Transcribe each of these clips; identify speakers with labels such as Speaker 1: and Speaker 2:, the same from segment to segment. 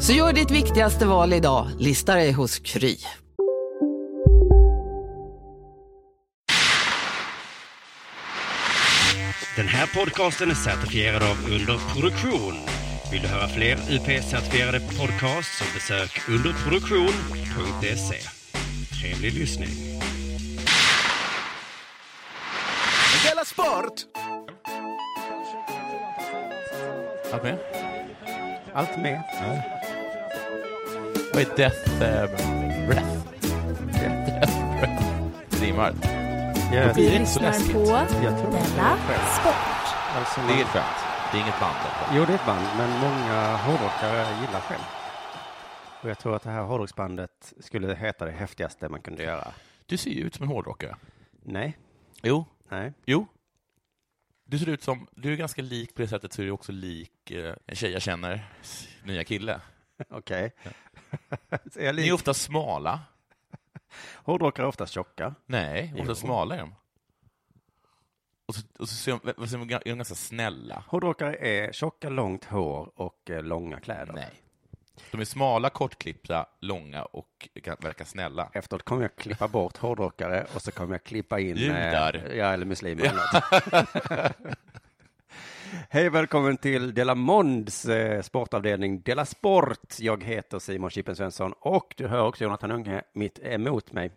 Speaker 1: Så gör ditt viktigaste val idag, listar dig hos Kry.
Speaker 2: Den här podcasten är certifierad av Underproduktion. Vill du höra fler UP-certifierade podcasts så besök underproduktion.se. E. Trevlig lyssning.
Speaker 3: Della Sport!
Speaker 4: Allt med?
Speaker 3: Allt med.
Speaker 4: Vad är Death eh, Breath? Death Breath. Rimmar.
Speaker 3: Jag,
Speaker 4: Det
Speaker 3: jag
Speaker 4: är inte så läskigt.
Speaker 3: tror det är ett skämt. Alltså,
Speaker 4: Det är ett
Speaker 3: man,
Speaker 4: skämt. Det är inget band. detta.
Speaker 3: jo, det är ett band, men många hårdrockare gillar skämt. Och jag tror att det här hårdrocksbandet skulle heta det häftigaste man kunde göra.
Speaker 4: Du ser ju ut som en hårdrockare.
Speaker 3: Nej,
Speaker 4: Jo.
Speaker 3: nej.
Speaker 4: Jo. Du ser ut som... Du är ganska lik på det sättet, så är du också lik eh, en tjej jag känner, s- nya kille.
Speaker 3: Okej. Så jag
Speaker 4: Ni
Speaker 3: lik-
Speaker 4: är ofta smala.
Speaker 3: Hårdrockare är oftast tjocka.
Speaker 4: Nej, ofta
Speaker 3: Jo.
Speaker 4: smala är de. Och så, och så ser de, och så är de ga- är de ganska snälla.
Speaker 3: Hårdrockare är tjocka, långt hår och eh, långa kläder.
Speaker 4: Nej. De är smala, kortklippta, långa och kan verka snälla.
Speaker 3: Efteråt kommer jag klippa bort hårdrockare och så kommer jag klippa in... eh,
Speaker 4: Judar.
Speaker 3: Ja, eller muslimer. eller något. Hej välkommen till Della Monds eh, sportavdelning Della Sport. Jag heter Simon Chippen Svensson och du hör också Jonathan Unge mitt emot mig.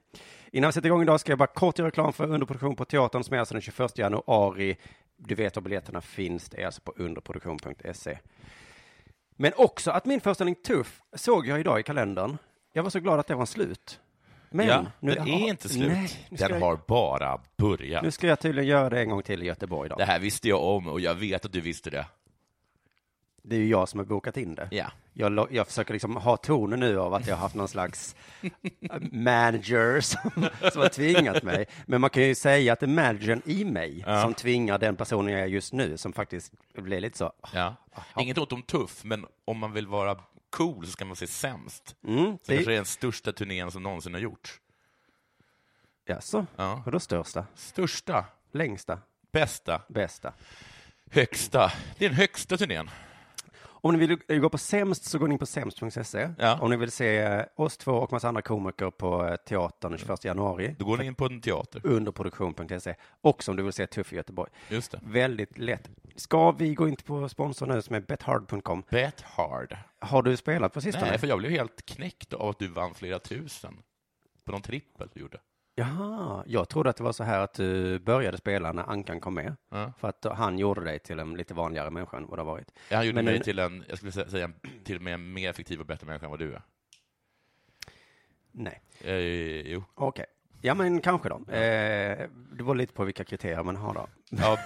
Speaker 3: Innan vi sätter igång idag ska jag bara kort göra reklam för underproduktion på teatern som är alltså den 21 januari. Du vet var biljetterna finns, det är alltså på underproduktion.se. Men också att min föreställning Tuff såg jag idag i kalendern. Jag var så glad att det var slut. Men
Speaker 4: ja,
Speaker 3: nu
Speaker 4: den är inte slut.
Speaker 3: Nej, nu, ska
Speaker 4: den
Speaker 3: jag,
Speaker 4: har bara börjat.
Speaker 3: nu ska jag tydligen göra det en gång till i Göteborg idag.
Speaker 4: Det här visste jag om och jag vet att du visste det.
Speaker 3: Det är ju jag som har bokat in det.
Speaker 4: Ja.
Speaker 3: Jag, lo- jag försöker liksom ha tonen nu av att jag har haft någon slags eh, manager som, som har tvingat mig. Men man kan ju säga att det är managern i mig som tvingar den personen jag är just nu, som faktiskt blir lite så.
Speaker 4: Ja. Inget ont om tuff, men om man vill vara cool så ska man se sämst.
Speaker 3: Mm,
Speaker 4: Så det kanske
Speaker 3: det,
Speaker 4: är den största turnén som någonsin har gjorts.
Speaker 3: jaså?
Speaker 4: Ja.
Speaker 3: Vadå största?
Speaker 4: Största,
Speaker 3: Längsta?
Speaker 4: bästa,
Speaker 3: Bästa?
Speaker 4: högsta. Det är den högsta turnén.
Speaker 3: Om ni vill eh, gå på sämst så går ni in på sämst.se.
Speaker 4: Ja.
Speaker 3: Om ni vill se eh, oss två och massa andra komiker på eh, teatern den 21 januari,
Speaker 4: Då går ni in på en teater.
Speaker 3: underproduktion.se. E. Också om du vill se Tuff i Göteborg.
Speaker 4: Just det.
Speaker 3: Väldigt lätt. Ska vi gå in på sponsor nu som är bethard.com?
Speaker 4: Bet hard.
Speaker 3: Har du spelat på sistone?
Speaker 4: Nej, för jag blev helt knäckt av att du vann flera tusen på någon trippel du gjorde.
Speaker 3: Jaha, jag trodde att det var så här att du började spela när Ankan kom med.
Speaker 4: Ja.
Speaker 3: För att han gjorde dig till en lite vanligare människa än vad du har varit.
Speaker 4: Han gjorde
Speaker 3: Men
Speaker 4: mig
Speaker 3: nu-
Speaker 4: till en, jag skulle sä- säga, en- till och med en mer effektiv och bättre människa än vad du är.
Speaker 3: Nej,
Speaker 4: Eh, jo.
Speaker 3: okej. Ja, men kanske då. Eh, det var lite på vilka kriterier man har då.
Speaker 4: Ja.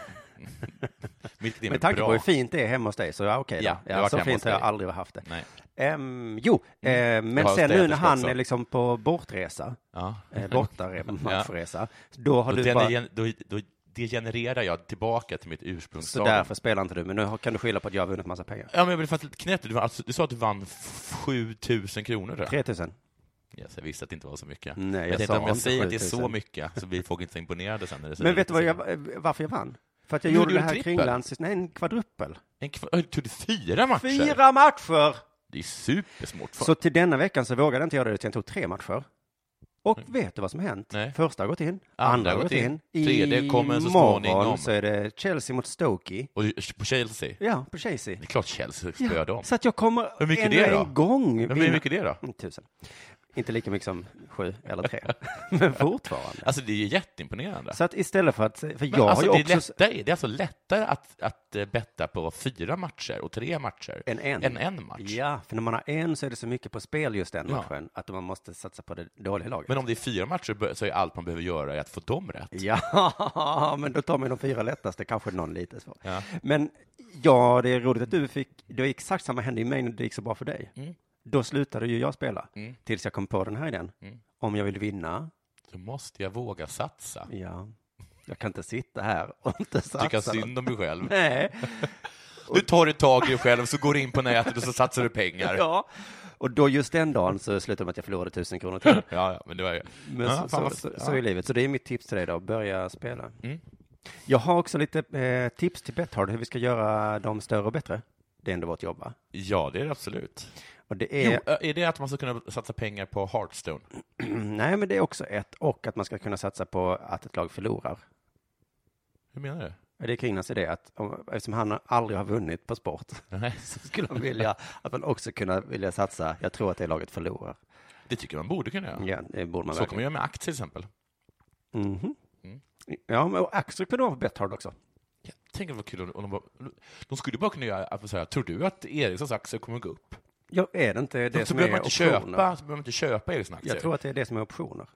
Speaker 4: Mitt liv är
Speaker 3: Med tanke
Speaker 4: bra.
Speaker 3: på hur fint det är hemma hos dig så ja, okej. då.
Speaker 4: Ja, jag har
Speaker 3: ja,
Speaker 4: varit
Speaker 3: så
Speaker 4: hemma
Speaker 3: fint
Speaker 4: hos
Speaker 3: har jag
Speaker 4: dig.
Speaker 3: aldrig haft det.
Speaker 4: Nej. Mm.
Speaker 3: Ehm, jo, eh, men
Speaker 4: har en
Speaker 3: sen nu när
Speaker 4: städerska
Speaker 3: han
Speaker 4: också.
Speaker 3: är liksom på bortresa,
Speaker 4: Ja.
Speaker 3: eh, borta matchresa, då har
Speaker 4: Då,
Speaker 3: du
Speaker 4: den
Speaker 3: bara...
Speaker 4: gen- då, då degenererar jag tillbaka till mitt ursprungsstadium.
Speaker 3: Så därför spelar inte du, men nu har- kan du skylla på att jag har vunnit massa pengar.
Speaker 4: Ja, men jag blev faktiskt lite knäpp. Du, var alltså, du sa att du vann f- 7 000 kronor. tror jag.
Speaker 3: 3000.
Speaker 4: Yes, jag visste att det inte var så mycket.
Speaker 3: Nej,
Speaker 4: jag
Speaker 3: jag
Speaker 4: tänkte
Speaker 3: sa
Speaker 4: om jag
Speaker 3: inte
Speaker 4: säger att det är
Speaker 3: 7 000.
Speaker 4: så mycket så blir folk inte så imponerade sen. När det säger
Speaker 3: Men vet du vad
Speaker 4: lite
Speaker 3: jag, eh,
Speaker 4: så.
Speaker 3: varför jag vann? För att jag
Speaker 4: Du
Speaker 3: gjorde
Speaker 4: gjorde
Speaker 3: det här
Speaker 4: en trippel?
Speaker 3: kringlands... Nej, en kvadruppel.
Speaker 4: En kva- Ö, Tog du fyra matcher?
Speaker 3: Fyra matcher!
Speaker 4: Det är supersmart.
Speaker 3: Så till denna veckan så vågade jag inte göra det, utan jag tog tre matcher. Och vet du vad som har hänt?
Speaker 4: Mm. Nej.
Speaker 3: Första har gått in, andra har gått in,
Speaker 4: tredje kommer så
Speaker 3: Imorgon
Speaker 4: småningom.
Speaker 3: så är det Chelsea mot Stoke.
Speaker 4: Och på Chelsea?
Speaker 3: Ja, på Chelsea.
Speaker 4: Det är klart Chelsea spöar dem.
Speaker 3: Så att jag kommer
Speaker 4: Hur mycket
Speaker 3: ännu
Speaker 4: är det då?
Speaker 3: en gång
Speaker 4: Men hur mycket är det då?
Speaker 3: Mm, Tusen. Inte lika mycket som sju eller tre. Men fortfarande.
Speaker 4: Alltså det är ju jätteimponerande.
Speaker 3: Så att istället för att... För
Speaker 4: Men
Speaker 3: jag
Speaker 4: alltså,
Speaker 3: har
Speaker 4: det,
Speaker 3: ju
Speaker 4: är
Speaker 3: också...
Speaker 4: lättare, det är alltså lättare att, att eh, betta på fyra matcher och tre matcher
Speaker 3: En en.
Speaker 4: än en match.
Speaker 3: Ja, för när man har en så är det så mycket på spel just den
Speaker 4: Ja.
Speaker 3: matchen att man måste satsa på det dåliga laget.
Speaker 4: Men om det är fyra matcher bör- så är allt man behöver göra är att få dem rätt.
Speaker 3: Ja, men då tar man de fyra lättaste, kanske någon lite svår.
Speaker 4: Ja.
Speaker 3: Men ja, det är roligt att du fick, det var exakt samma hände i mig när det gick så bra för dig.
Speaker 4: Mm.
Speaker 3: Då slutade ju jag spela, tills jag kom på den här idén.
Speaker 4: Mm.
Speaker 3: Om jag vill vinna,
Speaker 4: Så måste jag våga satsa.
Speaker 3: ja, jag kan inte sitta här och inte satsa.
Speaker 4: Tycka synd om mig själv.
Speaker 3: Nej,
Speaker 4: Nu tar du tag i dig själv, så går du in på nätet och så satsar du pengar. Ja,
Speaker 3: ja. Och då just den dagen så slutade det med att jag förlorade tusen kronor till.
Speaker 4: ja men det var ju...
Speaker 3: Men
Speaker 4: ja, fan
Speaker 3: så, så,
Speaker 4: vad-
Speaker 3: så,
Speaker 4: ja. Mm.
Speaker 3: så är livet. Så det är mitt tips till dig då, börja spela. Jag har också lite eh, tips till Betthard hur vi ska göra dem större och bättre. Det är ändå vårt jobb, va?
Speaker 4: ja, det är det absolut.
Speaker 3: Och det
Speaker 4: Jo,
Speaker 3: är,
Speaker 4: ö, är det att man ska kunna satsa pengar på Hearthstone?
Speaker 3: nej, men det är också ett, och att man ska kunna satsa på att ett lag förlorar.
Speaker 4: Hur menar du?
Speaker 3: Det är Kringlands idé att om, eftersom han aldrig har vunnit på sport
Speaker 4: Nej.
Speaker 3: så skulle han vilja att man också kunna vilja satsa. Jag tror att det laget förlorar.
Speaker 4: Det tycker jag man borde kunna göra.
Speaker 3: Ja, det borde man
Speaker 4: så Mm. kan man
Speaker 3: verkligen.
Speaker 4: göra med aktier till exempel.
Speaker 3: Mhm. Ja, men och Axel kunde vara på Betthard också.
Speaker 4: Ja, Tänk vad kul om om de bara, De skulle bara kunna göra att säga, tror du att Ericssons aktier kommer gå upp?
Speaker 3: Ja, är det inte det
Speaker 4: så,
Speaker 3: som
Speaker 4: behöver
Speaker 3: är
Speaker 4: man inte
Speaker 3: optioner?
Speaker 4: köpa, så behöver man inte köpa Ericssons aktier.
Speaker 3: Jag tror att det är det som är optioner.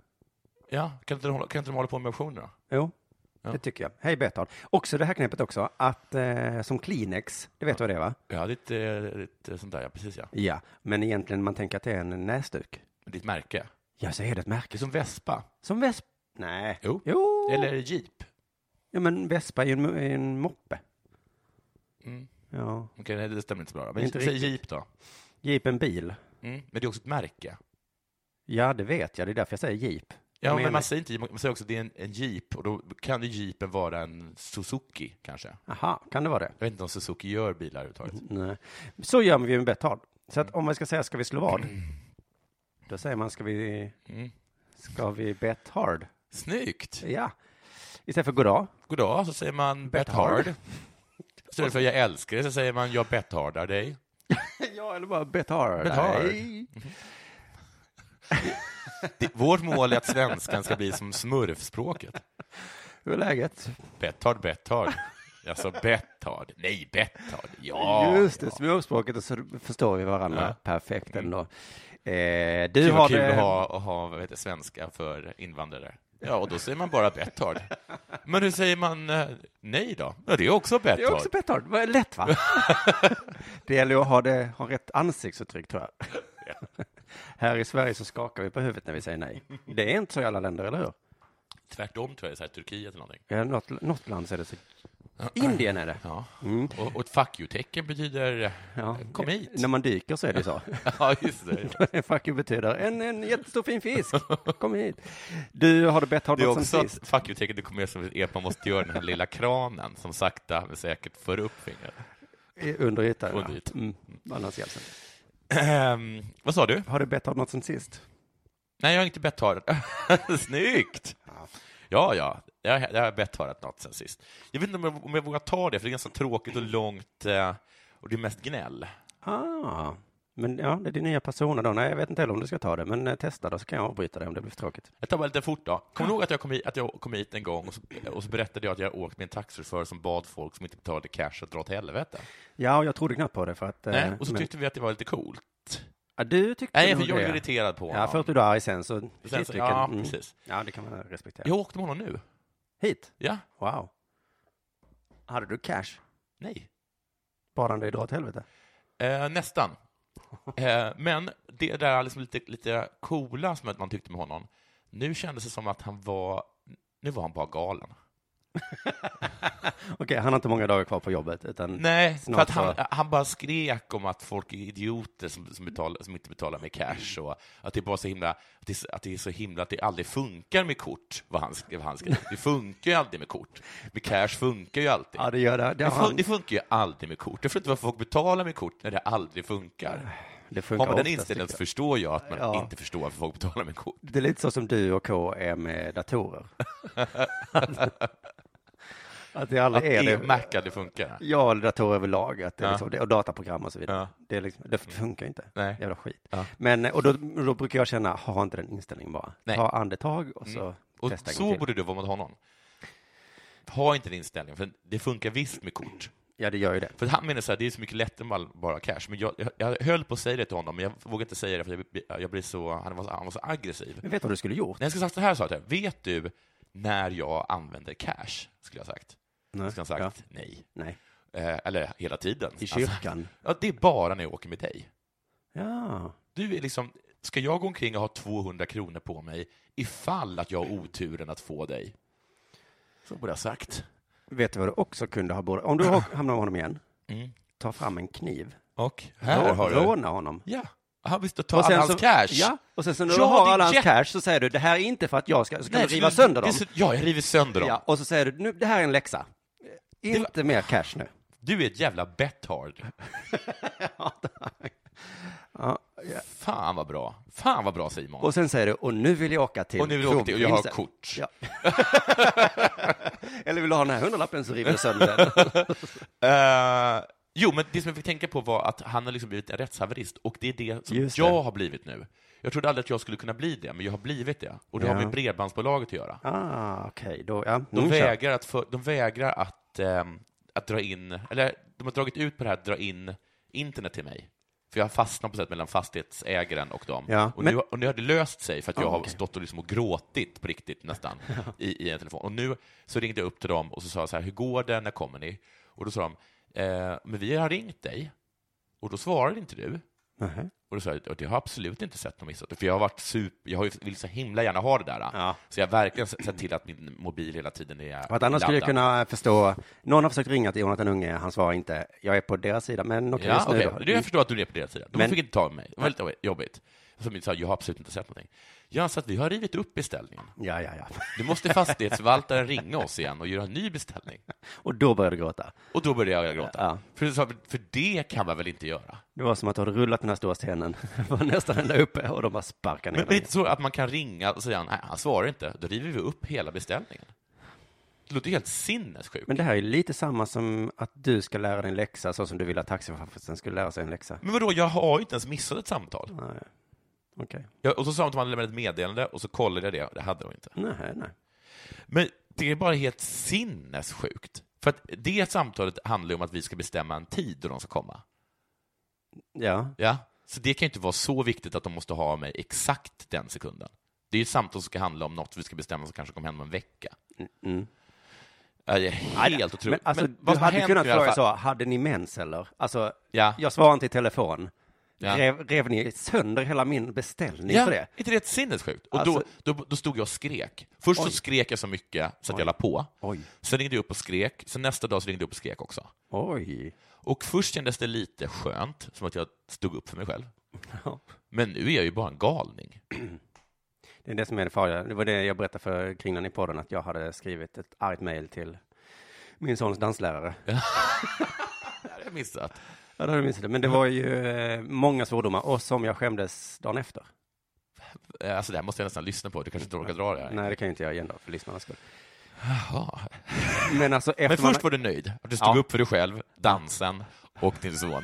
Speaker 4: Ja, kan inte de hålla, kan inte de hålla på med optioner då?
Speaker 3: Jo, det tycker jag. Hej Bertal. Också det här knepet också, att eh, som Kleenex, det vet du vad det är va?
Speaker 4: Ja, ditt, eh, ditt eh, sånt där, ja, precis ja.
Speaker 3: Ja, men egentligen man tänker att det är en näsduk.
Speaker 4: Ditt märke.
Speaker 3: Ja, så är det ett
Speaker 4: Det
Speaker 3: märke.
Speaker 4: är som Vespa.
Speaker 3: Som Vespa? Nej.
Speaker 4: Jo.
Speaker 3: jo.
Speaker 4: Eller Jeep.
Speaker 3: Ja, men Vespa är ju en, mo- är en moppe.
Speaker 4: Mm.
Speaker 3: Ja.
Speaker 4: Okej, nej, det stämmer inte så bra. då. Men
Speaker 3: Inte
Speaker 4: säg
Speaker 3: riktigt.
Speaker 4: Jeep då.
Speaker 3: Jeep en bil.
Speaker 4: Mm. Men det är också ett märke.
Speaker 3: Ja, det vet jag. Det är därför jag säger Jeep.
Speaker 4: Ja,
Speaker 3: Jag
Speaker 4: men
Speaker 3: menar-
Speaker 4: man säger inte Jeep, man säger också att det är en, en Jeep och då kan ju Jeepen vara en Suzuki kanske.
Speaker 3: Aha, kan det vara det?
Speaker 4: Jag vet inte om Suzuki gör bilar överhuvudtaget.
Speaker 3: Nej. Så gör vi med Bertal. Så
Speaker 4: Mm.
Speaker 3: att om man ska säga, ska vi slå vad? Då säger man, ska vi,
Speaker 4: Mm.
Speaker 3: ska vi bet hard?
Speaker 4: Snyggt!
Speaker 3: Ja. Istället för goddag.
Speaker 4: Goddag, så säger man bet
Speaker 3: hard.
Speaker 4: hard. Istället för jag älskar dig så säger man jag bethardar dig.
Speaker 3: Ja, eller bara betar.
Speaker 4: Betar.
Speaker 3: Nej.
Speaker 4: Det, vårt mål är att svenskan ska bli som smurfspråket.
Speaker 3: Hur är läget?
Speaker 4: Bethard, Bethard. Alltså Bethard. Nej, Bethard. Ja.
Speaker 3: Just det,
Speaker 4: ja.
Speaker 3: smörspråket och så förstår vi varandra
Speaker 4: Ja.
Speaker 3: perfekt ändå. Eh, du
Speaker 4: Det
Speaker 3: har
Speaker 4: var kul
Speaker 3: det...
Speaker 4: att ha, att ha vad heter, det, svenska för invandrare. Ja, och då säger man bara Bethard. Men hur säger man eh, nej då? Ja, det är också
Speaker 3: Det är
Speaker 4: Bethard.
Speaker 3: också Betthard. Vad Lätt va? det gäller att ha, det, ha rätt ansiktsuttryck tror jag. här i Sverige så skakar vi på huvudet när vi säger nej. Det är inte så i alla länder, eller hur?
Speaker 4: Tvärtom tror jag, så här, Turkiet eller någonting.
Speaker 3: Ja, något, något land så är det så. Indien är det.
Speaker 4: Ja.
Speaker 3: Mm.
Speaker 4: Och, och ett fuck you-tecken betyder eh,
Speaker 3: Ja.
Speaker 4: kom hit.
Speaker 3: När man dyker så är det så.
Speaker 4: Ja, just det.
Speaker 3: Fuck you betyder en, en jättestor fin fisk. Kom hit. Du, har du Betthard
Speaker 4: Det är
Speaker 3: något
Speaker 4: också
Speaker 3: sen
Speaker 4: att
Speaker 3: sist?
Speaker 4: fuck you-tecknet det kommer som är att man måste göra den här lilla kranen som sakta men säkert för upp fingret.
Speaker 3: I- Under ytan.
Speaker 4: Under
Speaker 3: ja.
Speaker 4: ytan.
Speaker 3: Mm. Annars hjälper det.
Speaker 4: Ehm, vad sa du?
Speaker 3: Har du bett om något sen sist?
Speaker 4: Nej, jag har inte bettharat. Snyggt! Ja, ja, jag, jag har bettharat något sen sist. Jag vet inte om jag, om jag vågar ta det, för det är ganska tråkigt och långt eh, och det är mest gnäll.
Speaker 3: Ah, men ja, det är din nya persona då. Nej, jag vet inte heller om du ska ta det, men eh, testa då så kan jag avbryta det om det blir för tråkigt.
Speaker 4: Jag tar bara lite fort då. Kommer du ihåg att jag kom hit, att jag kom hit en gång och så, och så berättade jag att jag åkt med en taxichaufför som bad folk som inte betalade cash att dra åt helvete?
Speaker 3: Ja, och jag trodde knappt på det för att... eh,
Speaker 4: Nej, och så
Speaker 3: men-
Speaker 4: tyckte vi att det var lite coolt.
Speaker 3: ja, du tyckte
Speaker 4: Nej,
Speaker 3: nog
Speaker 4: för jag
Speaker 3: det.
Speaker 4: blev irriterad på honom.
Speaker 3: Ja, först blev du arg sen så...
Speaker 4: Sen så,
Speaker 3: Shit,
Speaker 4: ja,
Speaker 3: vilken- mm.
Speaker 4: precis.
Speaker 3: Ja, det kan man respektera.
Speaker 4: Jag åkte med honom nu.
Speaker 3: Hit?
Speaker 4: Ja,
Speaker 3: Wow. Hade du cash?
Speaker 4: nej.
Speaker 3: Bad han dig dra åt helvete?
Speaker 4: Eh, nästan. Eh, men det där liksom lite, lite coola som man tyckte med honom, nu kändes det som att han var, nu var han bara galen.
Speaker 3: Okej, han har inte många dagar kvar på jobbet, utan...
Speaker 4: Nej, för
Speaker 3: Snart
Speaker 4: att han,
Speaker 3: så.
Speaker 4: han bara skrek om att folk är idioter som, som, betalar, som inte betalar med cash och att det är bara så himla, att det, är så- att det är så himla att det aldrig funkar med kort, vad han, sk- vad han skrev. Det funkar ju aldrig med kort. Med cash funkar ju alltid.
Speaker 3: Ja, det gör det. Det,
Speaker 4: Det,
Speaker 3: har
Speaker 4: fun-
Speaker 3: han,
Speaker 4: det funkar ju aldrig med kort. Jag förstår inte varför folk betalar med kort när det aldrig funkar.
Speaker 3: det funkar
Speaker 4: Har man den
Speaker 3: oftast,
Speaker 4: inställningen så
Speaker 3: liksom.
Speaker 4: förstår jag att man
Speaker 3: Ja.
Speaker 4: inte förstår varför folk betalar med kort.
Speaker 3: Det är lite så som du och K är med datorer. Att det aldrig
Speaker 4: Att
Speaker 3: är
Speaker 4: e-
Speaker 3: det.
Speaker 4: Mac aldrig funkar.
Speaker 3: Ja, eller datorer överlag, att det är
Speaker 4: Ja.
Speaker 3: liksom, det- och dataprogram och så vidare.
Speaker 4: Ja.
Speaker 3: Det, är liksom, det funkar inte.
Speaker 4: Nej.
Speaker 3: Jävla skit.
Speaker 4: Ja.
Speaker 3: Men, och då, då brukar jag känna, ha inte den inställningen bara.
Speaker 4: Nej.
Speaker 3: Ta andetag och så
Speaker 4: Mm. Och
Speaker 3: testa en gång
Speaker 4: så
Speaker 3: till.
Speaker 4: borde du vara mot honom. Ha inte den inställningen, för det funkar visst med kort.
Speaker 3: Ja, det gör ju det.
Speaker 4: För han menar så här, det är så mycket lättare med all- bara cash. Men jag, jag, jag höll på att säga det till honom, men jag vågade inte säga det för jag, jag blev så, han, var, så- han var så aggressiv.
Speaker 3: Men vet du vad du skulle gjort?
Speaker 4: Nej, jag skulle sagt så här, sa jag till honom. Vet du när jag använder cash? Skulle jag ha sagt.
Speaker 3: Nej.
Speaker 4: Skulle han sagt nej.
Speaker 3: Nej.
Speaker 4: Eh, eller hela tiden. Alltså,
Speaker 3: I kyrkan?
Speaker 4: ja, det är bara när jag åker med dig.
Speaker 3: Ja.
Speaker 4: Du är liksom, ska jag gå omkring och ha 200 kronor på mig ifall att jag har oturen att få dig? Så borde jag ha sagt.
Speaker 3: Vet du vad du också kunde ha borde? Om du ha- hamnar med honom igen,
Speaker 4: Mm.
Speaker 3: ta fram en kniv.
Speaker 4: Och här har
Speaker 3: Rå-
Speaker 4: du.
Speaker 3: Råna honom.
Speaker 4: Ja, Aha, visst, ta all
Speaker 3: sen
Speaker 4: hans
Speaker 3: så-
Speaker 4: cash.
Speaker 3: Ja, och sen så när
Speaker 4: Ja,
Speaker 3: du har
Speaker 4: det är
Speaker 3: alla hans
Speaker 4: jätte-
Speaker 3: cash så säger du, det här är inte för att jag ska, så kan
Speaker 4: Nej,
Speaker 3: du riva
Speaker 4: så-
Speaker 3: sönder
Speaker 4: det
Speaker 3: dem.
Speaker 4: är Så, ja, jag river sönder dem.
Speaker 3: Ja, och så säger du, nu, det här är en läxa. Inte mer cash nu.
Speaker 4: Du är ett jävla bethard. Fan vad bra. Fan vad bra Simon.
Speaker 3: Och sen säger du, och nu vill jag åka till
Speaker 4: Och nu vill jag åka till, och jag har
Speaker 3: kronprinsen."
Speaker 4: kort.
Speaker 3: Ja. Eller vill du ha den här hundralappen så river du sönder den.
Speaker 4: Eh, jo, men det som jag fick tänka på var att han har liksom blivit en rättshaverist och det är det som
Speaker 3: Just det.
Speaker 4: jag har blivit nu. Jag trodde aldrig att jag skulle kunna bli det, men jag har blivit det. Och det har
Speaker 3: Ja.
Speaker 4: med Bredbandsbolaget att göra.
Speaker 3: Ah, okej, då, ja.
Speaker 4: De
Speaker 3: Mm, kör.
Speaker 4: vägrar, att, för, de vägrar att, ehm, att dra in, eller de har dragit ut på det här att dra in internet till mig. För jag har fastnat på sätt mellan fastighetsägaren och dem.
Speaker 3: Ja,
Speaker 4: och,
Speaker 3: men-
Speaker 4: nu, och nu har det löst sig för att jag
Speaker 3: Ah,
Speaker 4: har
Speaker 3: okej.
Speaker 4: stått och, liksom och gråtit på riktigt nästan i, i en telefon. Och nu så ringde jag upp till dem och så sa jag så här, hur går det, när kommer ni? Och då sa de, eh, men vi har ringt dig och då svarade inte du.
Speaker 3: Nähä.
Speaker 4: Och då sa jag, och det har jag absolut inte sett något missat. För jag har varit super, jag har ju- vill så himla gärna ha det där.
Speaker 3: Ja.
Speaker 4: Så jag har verkligen s- sett till att min mobil hela tiden är
Speaker 3: För att annars skulle jag
Speaker 4: laddad.
Speaker 3: kunna förstå, någon har försökt ringa till Jonathan Unge, han svarar inte, jag är på deras sida, men okej,
Speaker 4: Ja,
Speaker 3: just nu
Speaker 4: okej.
Speaker 3: då.
Speaker 4: Det jag förstår att du är på deras sida. De
Speaker 3: Men-
Speaker 4: fick inte ta mig. Det var lite jobbigt. Som jag sa, jag har absolut inte sett någonting. Jag anser att vi har rivit upp beställningen.
Speaker 3: Ja, ja, ja.
Speaker 4: Nu måste fastighetsförvaltaren ringa oss igen och göra en ny beställning.
Speaker 3: Och då började du gråta.
Speaker 4: Och då började jag gråta.
Speaker 3: Ja.
Speaker 4: För, jag sa, för det kan man väl inte göra?
Speaker 3: Det var som att du hade rullat den här stora stenen, Det var nästan ända uppe, och de bara sparkade ner
Speaker 4: Men det är
Speaker 3: den.
Speaker 4: inte så att man kan ringa och säga nej, han svarar inte. Då river vi upp hela beställningen. Det låter ju helt sinnessjukt.
Speaker 3: Men det här är lite samma som att du ska lära dig en läxa, så som du vill att taxichauffören skulle lära sig en läxa.
Speaker 4: Men vadå, jag har ju inte ens missat ett samtal.
Speaker 3: Nej, okej.
Speaker 4: Jag, och så sa de att man hade lämnat ett meddelande och så kollade jag det, det hade de inte.
Speaker 3: Nej, nej.
Speaker 4: Men det är bara helt sinnessjukt. För att det samtalet handlar ju om att vi ska bestämma en tid då de ska komma.
Speaker 3: Ja,
Speaker 4: Ja? Så det kan ju inte vara så viktigt att de måste ha mig exakt den sekunden. Det är ju ett samtal som ska handla om något vi ska bestämma som kanske kommer hända om en vecka.
Speaker 3: Mm.
Speaker 4: Ja, Det är helt
Speaker 3: Men
Speaker 4: otroligt.
Speaker 3: alltså,
Speaker 4: Men vad
Speaker 3: du
Speaker 4: som har
Speaker 3: hade
Speaker 4: hänt
Speaker 3: kunnat
Speaker 4: nu i alla
Speaker 3: fråga
Speaker 4: fall-
Speaker 3: så, hade ni mens eller? Alltså,
Speaker 4: Ja.
Speaker 3: jag svarar inte i telefon.
Speaker 4: Ja.
Speaker 3: Rev, rev ni sönder hela min beställning för det?
Speaker 4: inte det helt sinnessjukt? Och
Speaker 3: Alltså-
Speaker 4: då, då, då stod jag och skrek. Först så skrek jag så mycket så att jag la på.
Speaker 3: Oj.
Speaker 4: Sen ringde jag upp och skrek. Sen nästa dag så ringde jag upp och skrek också.
Speaker 3: Oj.
Speaker 4: Och först kändes det lite skönt, som att jag stod upp för mig själv. Men nu är jag ju bara en galning.
Speaker 3: Det är det som är det farliga. Det var det jag berättade för Kringlan i podden, att jag hade skrivit ett argt mejl till min sons danslärare.
Speaker 4: Det har jag missat.
Speaker 3: Ja, det har du missat. det. Men det var ju eh, många svordomar och som jag skämdes dagen efter.
Speaker 4: Eh, Alltså det här måste jag nästan lyssna på, du kanske inte orkar dra det här.
Speaker 3: Nej, det kan jag inte jag igen då, för lyssnarnas skull.
Speaker 4: Jaha.
Speaker 3: Men alltså efter
Speaker 4: Men
Speaker 3: man-
Speaker 4: först var du nöjd, att du stod
Speaker 3: Ja.
Speaker 4: upp för dig själv, dansen och din son.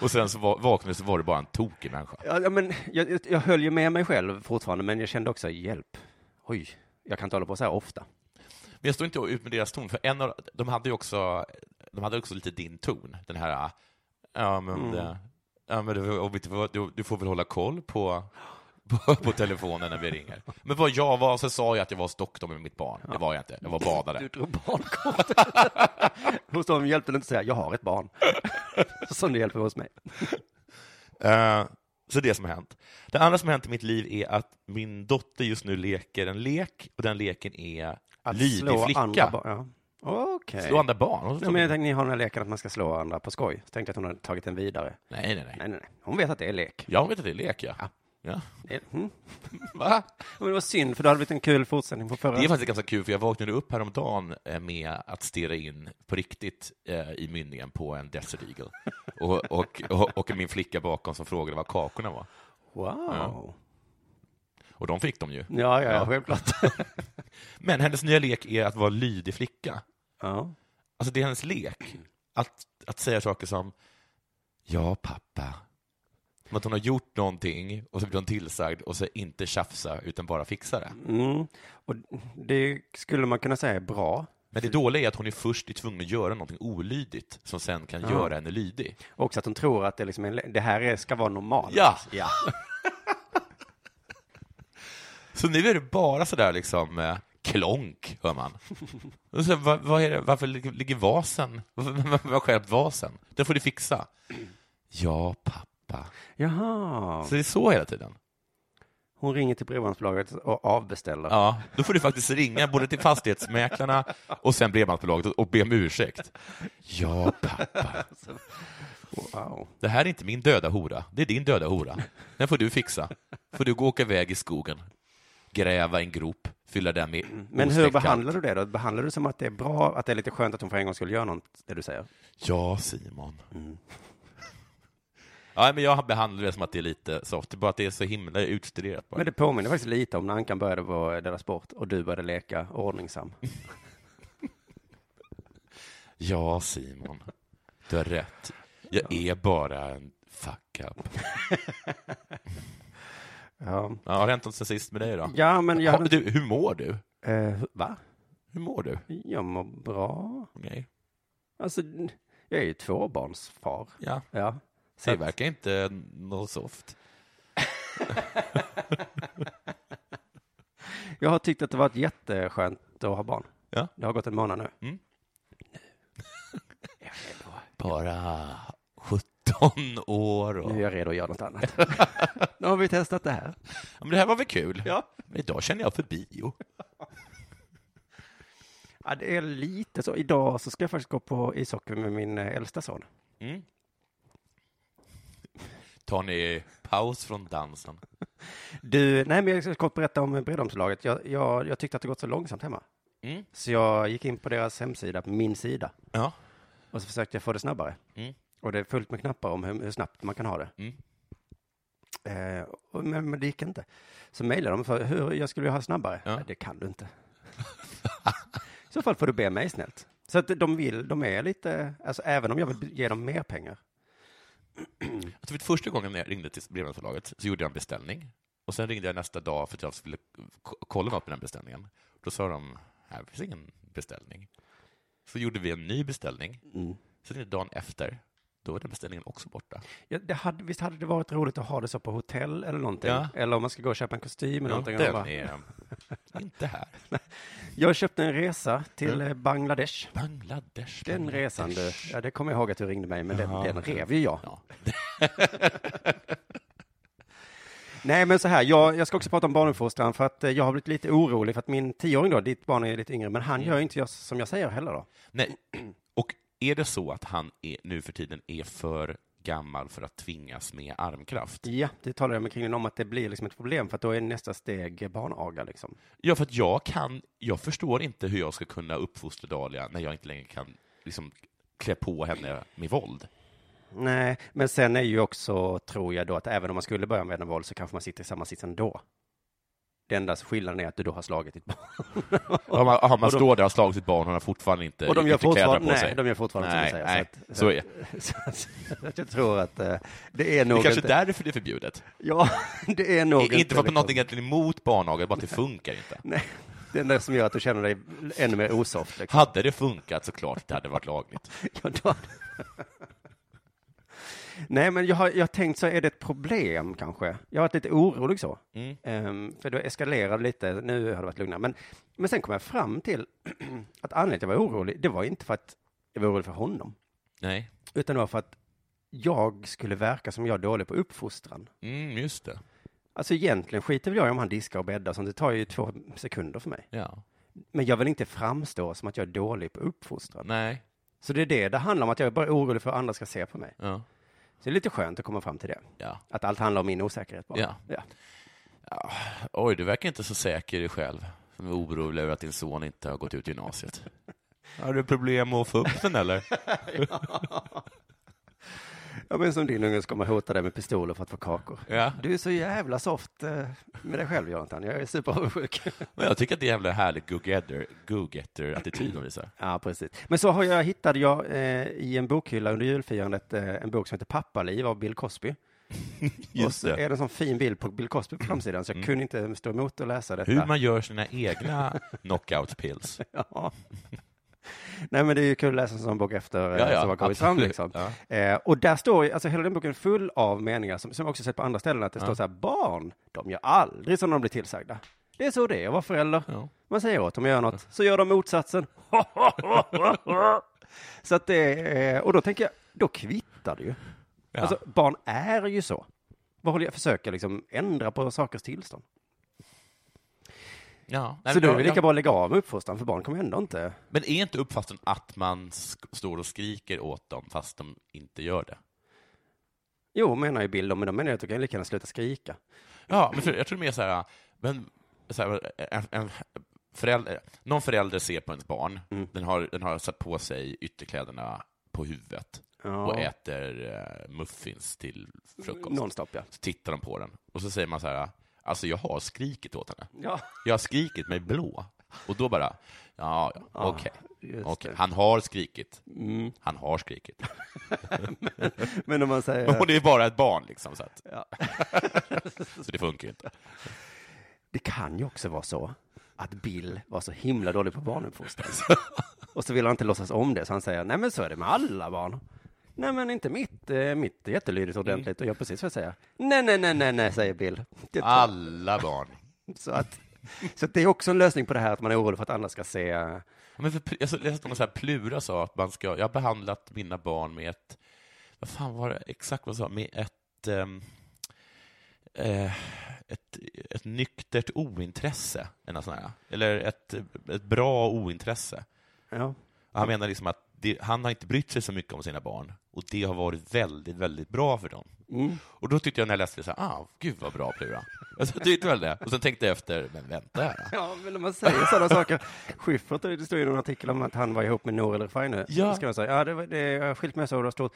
Speaker 4: och sen så va- vaknade du så var du bara en tokig människa.
Speaker 3: Ja, ja, men jag, jag höll ju med mig själv fortfarande, men jag kände också hjälp. Oj, jag kan inte hålla på så här ofta.
Speaker 4: Men jag står inte ut med deras ton, för en av, de hade ju också, de hade också lite din ton, den här, äh, ja men,
Speaker 3: Mm.
Speaker 4: det, ja, men du, om inte får- du, du får väl hålla koll på, på, på telefonen när vi ringer. Men vad jag var, så sa jag att jag var i Stockholm med mitt barn, det var jag inte, jag var badare.
Speaker 3: drog barnkortet. hos dem hjälpte det inte att säga jag har ett barn. Som det hjälper hos mig.
Speaker 4: Eh, så det som har hänt. Det andra som har hänt i mitt liv är att min dotter just nu leker en lek, och den leken är lydig
Speaker 3: andra
Speaker 4: flicka.
Speaker 3: barn. Ja. Okej.
Speaker 4: Slå andra barn? Hon
Speaker 3: Nej, men jag tänkte ni har den här leken att man ska slå andra på skoj. Så tänkte jag att hon hade tagit den vidare.
Speaker 4: nej, nej, nej.
Speaker 3: Nej, nej, nej. Hon vet att det är lek.
Speaker 4: Jag vet att det är lek, ja. ja.
Speaker 3: Det- Mm.
Speaker 4: Va?
Speaker 3: Men det var synd, för det hade blivit en kul fortsättning på förra.
Speaker 4: Det är faktiskt ganska kul, för jag vaknade upp häromdagen eh, med att stirra in på riktigt eh, i mynningen på en Desert Eagle. Och, och, och, och min flicka bakom som frågade vad kakorna var.
Speaker 3: Wow.
Speaker 4: Och de fick de ju.
Speaker 3: Ja, ja, ja, självklart.
Speaker 4: Men hennes nya lek är att vara lydig flicka.
Speaker 3: Ja.
Speaker 4: Alltså det är hennes lek. Att, att säga saker som ja pappa. Som att hon har gjort någonting och så blir hon tillsagd och så inte tjafsa utan bara fixa det.
Speaker 3: Mm. Och det skulle man kunna säga är bra.
Speaker 4: Men det dåliga är att hon är först är tvungen att göra någonting olydigt som sen kan göra henne lydig.
Speaker 3: Också att de tror att det, liksom är, det här är- ska vara normalt.
Speaker 4: Ja!
Speaker 3: ja.
Speaker 4: Så nu är det bara sådär liksom eh, klonk, hör man. Och så, vad, vad är det? Varför ligger ligger vasen? Varför varför har skärpt vasen? Den får du fixa. Ja, pappa.
Speaker 3: Jaha.
Speaker 4: Så det är så hela tiden.
Speaker 3: Hon ringer till bredbandsbolaget och avbeställer.
Speaker 4: Ja, då får du faktiskt ringa både till fastighetsmäklarna och sen bredbandsbolaget och be om ursäkt. Ja, pappa.
Speaker 3: Wow.
Speaker 4: Det här är inte min döda hora. Det är din döda hora. Den får du fixa. får du gå och åka iväg i skogen, gräva en grop, fylla den med
Speaker 3: Mm. Men hur
Speaker 4: ostäckt
Speaker 3: behandlar
Speaker 4: kalk.
Speaker 3: du det då? Behandlar du som att det är bra, att det är lite skönt att hon för en gång skulle göra något, det du säger?
Speaker 4: Ja, Simon. Ja, men jag behandlar det som att det är lite soft, det är bara att det är så himla utstuderat. Bara.
Speaker 3: Men det påminner faktiskt lite om när Ankan började på Della Sport och du började leka ordningsam.
Speaker 4: Ja, Simon. Du har rätt. Jag är bara en fuck up.
Speaker 3: Ja,
Speaker 4: Ja, har det hänt något sen sist med dig då?
Speaker 3: ja men jag...
Speaker 4: Har,
Speaker 3: Hade...
Speaker 4: du, hur mår du?
Speaker 3: Eh, va?
Speaker 4: Hur mår du?
Speaker 3: Jag mår bra.
Speaker 4: Okej.
Speaker 3: Alltså, jag är ju tvåbarnsfar.
Speaker 4: Ja.
Speaker 3: Ja. Så
Speaker 4: Det
Speaker 3: att-
Speaker 4: verkar inte något soft.
Speaker 3: Jag har tyckt att det varit jätteskönt att ha barn.
Speaker 4: Ja.
Speaker 3: Det har gått en månad nu.
Speaker 4: Bara 17 år och...
Speaker 3: Nu är jag redo att göra något annat. nu har vi testat det här.
Speaker 4: Ja, Men det här var väl kul? Ja. Men idag känner jag för bio.
Speaker 3: Ja, det är lite så. Idag så ska jag faktiskt gå på ishockey med min eh, äldsta son.
Speaker 4: Tar ni paus från dansen?
Speaker 3: Du, nej men jag ska kort berätta om breddomslaget. Jag, jag, jag tyckte att det gått så långsamt hemma.
Speaker 4: Mm.
Speaker 3: Så jag gick in på deras hemsida, på min sida,
Speaker 4: Ja.
Speaker 3: och så försökte jag få det snabbare.
Speaker 4: Mm.
Speaker 3: Och det är fullt med knappar om hur, hur snabbt man kan ha det.
Speaker 4: Mm.
Speaker 3: Eh, och, men, men det gick inte. Så mejlade de för hur jag skulle vilja ha det snabbare.
Speaker 4: Ja.
Speaker 3: Nej, det kan du inte. I så fall får du be mig snällt. Så att de vill, de är lite, alltså även om jag vill ge dem mer pengar.
Speaker 4: Jag tror att första gången när jag ringde till brevbärarförlaget så gjorde jag en beställning. Och sen ringde jag nästa dag för att jag skulle k- kolla något med den beställningen. Då sa de, här finns ingen beställning. Så gjorde vi en ny beställning. Sen är det dagen efter, då var den beställningen också borta.
Speaker 3: Ja, det hade, visst hade det varit roligt att ha det så på hotell eller någonting?
Speaker 4: Ja.
Speaker 3: Eller om man ska gå och köpa en kostym eller
Speaker 4: Ja,
Speaker 3: någonting. och
Speaker 4: den
Speaker 3: bara-
Speaker 4: är inte här.
Speaker 3: Jag köpte en resa till eh, Bangladesh.
Speaker 4: Mm. Bangladesh.
Speaker 3: Den
Speaker 4: Bangladesh.
Speaker 3: resan du, ja det kommer jag ihåg att du ringde mig, men den,
Speaker 4: Ja.
Speaker 3: den rev ju jag.
Speaker 4: Ja.
Speaker 3: Nej men så här, jag, jag ska också prata om barnuppfostran för att eh, jag har blivit lite orolig för att min tioåring då, ditt barn är lite yngre, men han
Speaker 4: Mm.
Speaker 3: gör ju inte jag, som jag säger heller då.
Speaker 4: Nej. Och är det så att han är, nu för tiden är för gammal för att tvingas med armkraft?
Speaker 3: Ja, det talade jag med kringen om att det blir liksom ett problem för att då är nästa steg barnaga liksom.
Speaker 4: Ja, för att jag kan, jag förstår inte hur jag ska kunna uppfostra Dahlia när jag inte längre kan liksom, klä på henne med våld.
Speaker 3: Nej, men sen är ju också, tror jag då, att även om man skulle börja använda våld så kanske man sitter i samma sits ändå. Det enda skillnaden är att du då har slagit ditt barn.
Speaker 4: Om man, om man
Speaker 3: de-
Speaker 4: står där och har slagit sitt barn och hon har fortfarande inte,
Speaker 3: Och de gör
Speaker 4: inte kläder
Speaker 3: fortfarande,
Speaker 4: på sig.
Speaker 3: nej, de gör fortfarande
Speaker 4: nej,
Speaker 3: som du säger.
Speaker 4: nej,
Speaker 3: så att-
Speaker 4: så är det.
Speaker 3: Så att- så att jag tror att eh, det
Speaker 4: Det
Speaker 3: är nog
Speaker 4: är kanske
Speaker 3: inte...
Speaker 4: därför det är förbjudet.
Speaker 3: Ja, det är nog
Speaker 4: inte för att man
Speaker 3: liksom-
Speaker 4: någonting egentligen är emot barnaga, bara att det funkar inte.
Speaker 3: Nej, det är det som gör att du känner dig ännu mer osoft. Liksom.
Speaker 4: Hade det funkat så klart det hade varit lagligt.
Speaker 3: Ja, då... Nej, men jag har, jag har tänkt så, är det ett problem kanske? Jag har varit lite orolig så.
Speaker 4: Mm.
Speaker 3: Ehm, för då eskalerade det lite, nu har det varit lugnare. Men, men sen kom jag fram till att anledningen till att jag var orolig, det var inte för att jag var orolig för honom.
Speaker 4: Nej,
Speaker 3: Utan det var för att jag skulle verka som jag är dålig på uppfostran.
Speaker 4: mm, just det.
Speaker 3: Alltså egentligen skiter väl jag i om han diskar och bäddar, så det tar ju två sekunder för mig.
Speaker 4: Ja.
Speaker 3: Men jag vill inte framstå som att jag är dålig på uppfostran.
Speaker 4: Nej,
Speaker 3: Så det är det det handlar om, att jag är bara orolig för hur andra ska se på mig.
Speaker 4: ja.
Speaker 3: Så det är lite skönt att komma fram till det.
Speaker 4: ja.
Speaker 3: Att allt handlar om min osäkerhet bara.
Speaker 4: Ja. Oj, du verkar inte så säker i själv. Som är orolig över att din son inte har gått ut gymnasiet. Har du problem med att få upp den eller?
Speaker 3: Ja, men som din unge ska man hota dig med pistoler för att få kakor.
Speaker 4: Ja.
Speaker 3: Du är så jävla soft eh, med dig själv, Jonathan. Jag är superavundsjuk.
Speaker 4: Men jag tycker att det är en jävla härlig go-getter- go-getter-attityd de visar.
Speaker 3: Ja, precis. Men så har jag, hittade jag eh, i en bokhylla under julfirandet eh, en bok som heter Pappaliv av Bill Cosby. och
Speaker 4: Just
Speaker 3: så
Speaker 4: det. Mm.
Speaker 3: är det en sån fin bild på Bill Cosby på framsidan, så jag kunde inte stå emot att läsa detta.
Speaker 4: Hur man gör sina egna knockout-pills.
Speaker 3: Ja. Nej, men det är ju kul att läsa en sån bok efter eh,
Speaker 4: Ja, ja,
Speaker 3: som har kommit
Speaker 4: absolut.
Speaker 3: fram. Liksom. Eh, och där står ju, alltså hela den boken är full av meningar som, som jag också sett på andra ställen, att det står så här, barn, de gör aldrig som de blir tillsagda. Det är så det är att vara förälder.
Speaker 4: Ja.
Speaker 3: Man säger åt dem att göra något, så gör de motsatsen. så att det, är- och då tänker jag, då kvittar det ju.
Speaker 4: Ja.
Speaker 3: Alltså, barn är ju så. Vad håller jag, försöker liksom ändra på sakers tillstånd.
Speaker 4: Ja. Nej,
Speaker 3: så
Speaker 4: men
Speaker 3: då är
Speaker 4: jag-
Speaker 3: det lika
Speaker 4: jag-
Speaker 3: bra att lägga av med uppfostran, för barn kommer ändå inte
Speaker 4: Men är inte uppfattningen att man sk- står och skriker åt dem fast de inte gör det?
Speaker 3: Jo, menar ju Bill, då, men då menar jag att du kan lika gärna sluta skrika.
Speaker 4: Ja, men för, jag tror mer så här, men, så här en, en förälder, någon förälder ser på ens barn,
Speaker 3: Mm.
Speaker 4: den, har, den har satt på sig ytterkläderna på huvudet
Speaker 3: Ja.
Speaker 4: och äter eh, muffins till frukost.
Speaker 3: Nonstop, ja.
Speaker 4: Så tittar de på den och så säger man så här, alltså jag har skrikit åt henne.
Speaker 3: Ja.
Speaker 4: Jag har skrikit mig blå. Och då bara, ja, ja, okej.
Speaker 3: Ah, just
Speaker 4: Okej.
Speaker 3: det. Mm.
Speaker 4: Han har skrikit. Han har skrikit.
Speaker 3: Men om man säger,
Speaker 4: Och det är bara ett barn liksom. Så, att,
Speaker 3: Ja.
Speaker 4: så det funkar ju inte.
Speaker 3: det kan ju också vara så att Bill var så himla dålig på barnuppfostran. och så vill han inte låtsas om det, så han säger, nej men så är det med alla barn. Nej men inte mitt, eh, mitt är jättelydigt och ordentligt och gör precis vad jag säger. Nej, nej, nej, nej, nej, säger Bill. Det tar-
Speaker 4: Alla barn.
Speaker 3: Så att, så att det är också en lösning på det här att man är orolig för att andra ska se, eh,
Speaker 4: Ja, Men för, jag så- läste någon så här Plura sa att man ska, jag har behandlat mina barn med ett, vad fan var det exakt vad jag sa, med ett, ehm, eh, ett, ett nyktert ointresse, eller, något sånt här, eller ett, ett bra ointresse.
Speaker 3: ja,
Speaker 4: Han menar liksom att det, han har inte brytt sig så mycket om sina barn och det har varit väldigt, väldigt bra för dem.
Speaker 3: Mm.
Speaker 4: Och då tyckte jag när jag läste det så här, ah, gud vad bra Plura. Jag tyckte väl det. Och sen tänkte jag efter, men vänta här.
Speaker 3: Ja, men om man säger sådana saker. Schyffert, det står ju någon artikel om att han var ihop med Nour El nu.
Speaker 4: Ja.
Speaker 3: Då Ska man säga, ja, det, var- det, jag har skilt mig så och det har stått.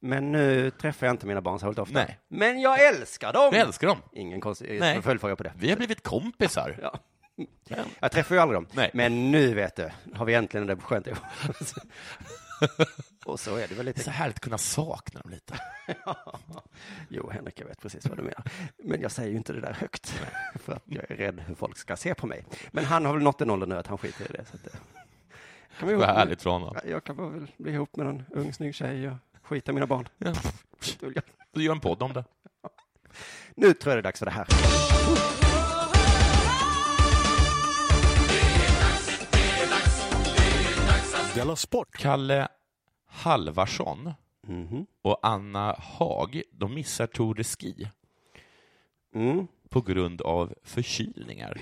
Speaker 3: Men nu träffar jag inte mina barn särskilt ofta.
Speaker 4: Nej.
Speaker 3: Men jag älskar dem!
Speaker 4: Jag älskar dem.
Speaker 3: Ingen konstig
Speaker 4: Nej.
Speaker 3: följdfråga på det.
Speaker 4: Vi har blivit kompisar.
Speaker 3: Ja. Jag träffar ju aldrig dem.
Speaker 4: Nej.
Speaker 3: Men nu vet du, har vi äntligen det skönt ihop. och så är det väl
Speaker 4: Det är så
Speaker 3: lite.
Speaker 4: härligt att kunna sakna dem lite.
Speaker 3: Jo, Henrik, jag vet precis vad du menar. Men jag säger ju inte det där högt. För att jag är rädd hur folk ska se på mig. Men han har väl nått en ålder nu att han skiter i det. Så att det... Kan vi
Speaker 4: Vad härligt för honom.
Speaker 3: Ja, Jag kan bara väl bli ihop med någon ung snygg tjej och skita i mina barn.
Speaker 4: Ja. Du gör en podd om det.
Speaker 3: Nu tror jag det är dags för det här.
Speaker 5: Della Sport.
Speaker 4: Kalle Halvarsson och Anna Haag, de missar Tour de Ski
Speaker 3: Mm.
Speaker 4: på grund av förkylningar.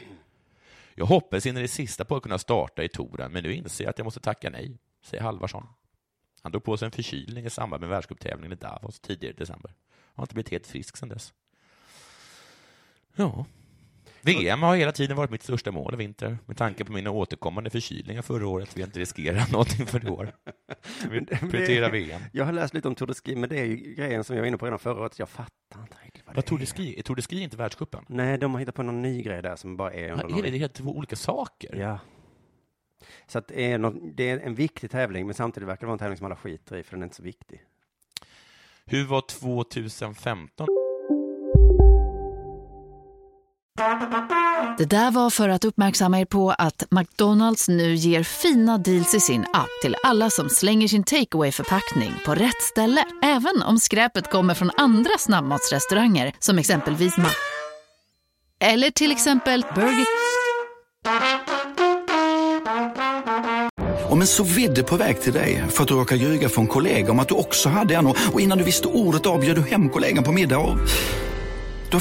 Speaker 4: Jag hoppades in i det sista på att kunna starta i touren, men nu inser jag att jag måste tacka nej, säger Halvarsson. Han drog på sig en förkylning i samband med världscuptävlingen i Davos tidigare i december. Han har inte blivit helt frisk sedan dess. Ja. VM har hela tiden varit mitt största mål i vinter. Med tanke på mina återkommande förkylningar förra året vill jag inte riskera någonting för i år. Vi prioriterar VM.
Speaker 3: Jag har läst lite om Tour de Ski, men det är ju grejen som jag var inne på redan förra året. Jag fattar inte riktigt vad det
Speaker 4: Vad
Speaker 3: är.
Speaker 4: Tour de Ski? Är Tour de Ski inte världscupen?
Speaker 3: Nej, de har hittat på någon ny grej där som bara är
Speaker 4: Ja,
Speaker 3: under
Speaker 4: Är det,
Speaker 3: någon...
Speaker 4: det är helt två olika saker.
Speaker 3: Ja. Så att det, är någon... det är en viktig tävling, men samtidigt verkar det vara en tävling som alla skiter i, för den är inte så viktig.
Speaker 4: Hur var 2015?
Speaker 6: Det där var för att uppmärksamma er på att McDonalds nu ger fina deals i sin app till alla som slänger sin takeaway förpackning på rätt ställe. Även om skräpet kommer från andra snabbmatsrestauranger som exempelvis Ma... Eller till exempel Burger...
Speaker 7: Om en så vidde på väg till dig för att du råkar ljuga från kollega om att du också hade en och och innan du visste ordet av bjöd du hem kollegan på middag och... Då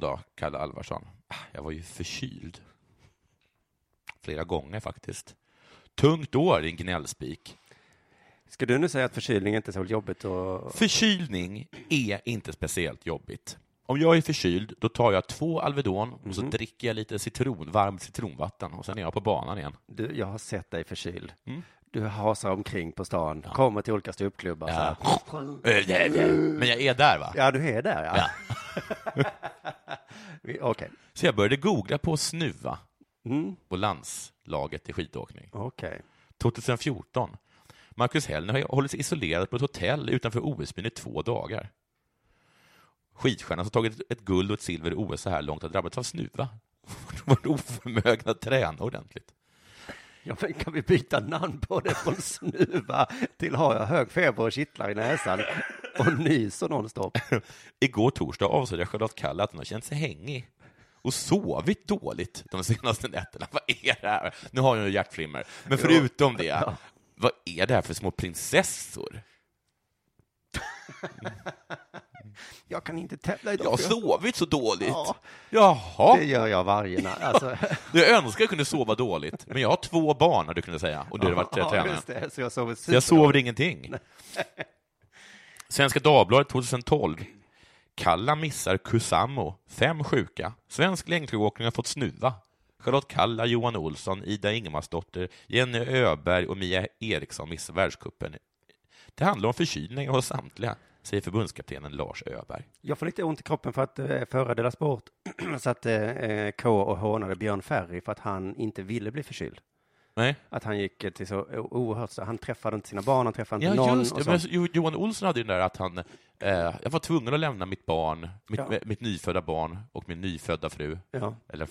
Speaker 4: då, Kalle Alvarsson. Ah, Jag var ju förkyld. Flera gånger faktiskt. Tungt år, din gnällspik.
Speaker 3: Ska du nu säga att förkylning är inte är så jobbigt? Och...
Speaker 4: Förkylning är inte speciellt jobbigt. Om jag är förkyld, då tar jag två Alvedon och så dricker jag lite citron, varmt citronvatten och sen är jag på banan igen.
Speaker 3: Du, jag har sett dig förkyld.
Speaker 4: Mm.
Speaker 3: Du hasar omkring på stan, kommer till olika ståuppklubbar.
Speaker 4: Ja.
Speaker 3: så här.
Speaker 4: Men jag är där, va?
Speaker 3: Ja, du är där, ja. Vi- Okej.
Speaker 4: Så jag började googla på snuva på landslaget i skidåkning.
Speaker 3: Okej.
Speaker 4: 2014. Marcus Hellner har ju hållit sig isolerad på ett hotell utanför OS-byn i två dagar. Skidstjärnan som tagit ett guld och ett silver i OS så här långt har drabbats av snuva. Varit oförmögen att träna ordentligt.
Speaker 3: Ja, men kan vi byta namn på det från snuva till har jag hög feber och kittlar i näsan och nyser nonstop?
Speaker 4: Igår torsdag avslöjade Charlotte Kalla att hon har känt sig hängig och sovit dåligt de senaste nätterna. Vad är det här? Nu har hon ju hjärtflimmer. Men förutom det, vad är det här för små prinsessor?
Speaker 3: Jag kan inte tävla idag.
Speaker 4: Jag har sovit så dåligt.
Speaker 3: Ja.
Speaker 4: Jaha.
Speaker 3: Det gör jag varje natt. Alltså,
Speaker 4: Jag önskar jag kunde sova dåligt, men jag har två barn, hade du kunnat säga, och du hade varit eh,
Speaker 3: ja,
Speaker 4: tränare.
Speaker 3: just det, så jag sover
Speaker 4: Så jag
Speaker 3: superdåligt.
Speaker 4: sover ingenting. Svenska Dagbladet 2012. Kalla missar Kusamo. Fem sjuka. Svensk längdskidåkning har fått snuva. Charlotte Kalla, Johan Olsson, Ida Ingemarsdotter, Jenny Öberg och Mia Eriksson missar världscupen. Det handlar om förkylningar hos samtliga, säger förbundskaptenen Lars Öberg.
Speaker 3: Jag får lite ont i kroppen för att eh, förra Dela Sport satt eh, K och hånade Björn Ferry för att han inte ville bli förkyld.
Speaker 4: Nej.
Speaker 3: Att han gick eh, till så o- oerhört så. Han träffade inte sina barn, han träffade inte
Speaker 4: Ja,
Speaker 3: någon.
Speaker 4: just
Speaker 3: och
Speaker 4: det.
Speaker 3: så.
Speaker 4: Men Jo- Johan Olsson hade ju den där att han, eh, jag var tvungen att lämna mitt barn, mitt,
Speaker 3: Ja.
Speaker 4: mitt nyfödda barn och min nyfödda fru.
Speaker 3: Ja.
Speaker 4: Eller,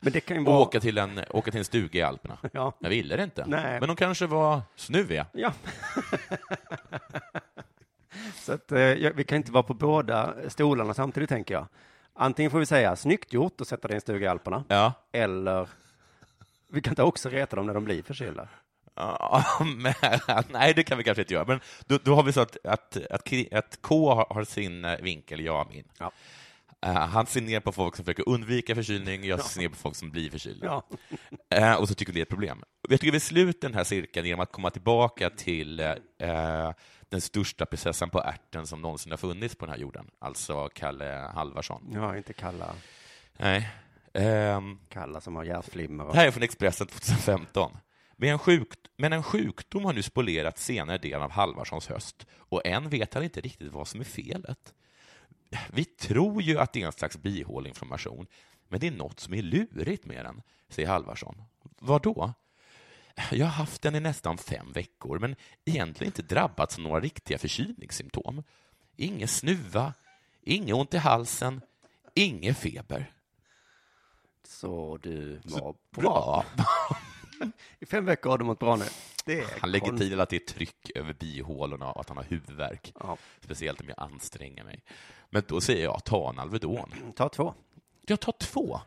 Speaker 3: Men det kan ju
Speaker 4: och
Speaker 3: vara-
Speaker 4: åka, till en, åka till en stuga i Alperna.
Speaker 3: Ja.
Speaker 4: Jag ville det inte.
Speaker 3: Nej.
Speaker 4: Men de kanske var snuviga.
Speaker 3: Ja. så att, eh, jag- vi kan inte vara på båda stolarna samtidigt, tänker jag. Antingen får vi säga snyggt gjort och sätta dig i en stuga i Alperna.
Speaker 4: Ja.
Speaker 3: Eller vi kan inte också reta dem när de blir förkylda.
Speaker 4: Ja, men, nej, det kan vi kanske inte göra. Men då, då har vi så att, att, att, Kri- att K har, har sin eh, vinkel, jag har min. Eh, han ser ner på folk som försöker undvika förkylning, jag ser ner på folk som blir förkylda.
Speaker 3: Ja.
Speaker 4: Eh, och så tycker vi det är ett problem. Och Jag tycker vi sluter den här cirkeln genom att komma tillbaka till eh, den största prinsessan på ärten som någonsin har funnits på den här jorden, alltså Kalle Halvarsson.
Speaker 3: Ja, inte kalla,
Speaker 4: Nej. Ehm,
Speaker 3: kalla som har hjärtflimmer. Och...
Speaker 4: det här är från Expressen 2015. Men en, sjuk, men en sjukdom har nu spolerat senare delen av Halvarssons höst och än vet han inte riktigt vad som är felet. Vi tror ju att det är en slags bihåleinflammation, men det är något som är lurigt med den, säger Halvarsson. Vad då? Jag har haft den i nästan fem veckor, men egentligen inte drabbats av några riktiga förkylningssymptom. Ingen snuva, inget ont i halsen, ingen feber.
Speaker 3: Så du var
Speaker 4: Bra!
Speaker 3: I fem veckor har du mått bra nu. Det är
Speaker 4: Han lägger
Speaker 3: konst-
Speaker 4: till att det är tryck över bihålorna och att han har huvudvärk.
Speaker 3: Ja.
Speaker 4: Speciellt om jag anstränger mig. Men då säger jag, ta en Alvedon.
Speaker 3: Ta två.
Speaker 4: Jag tar två.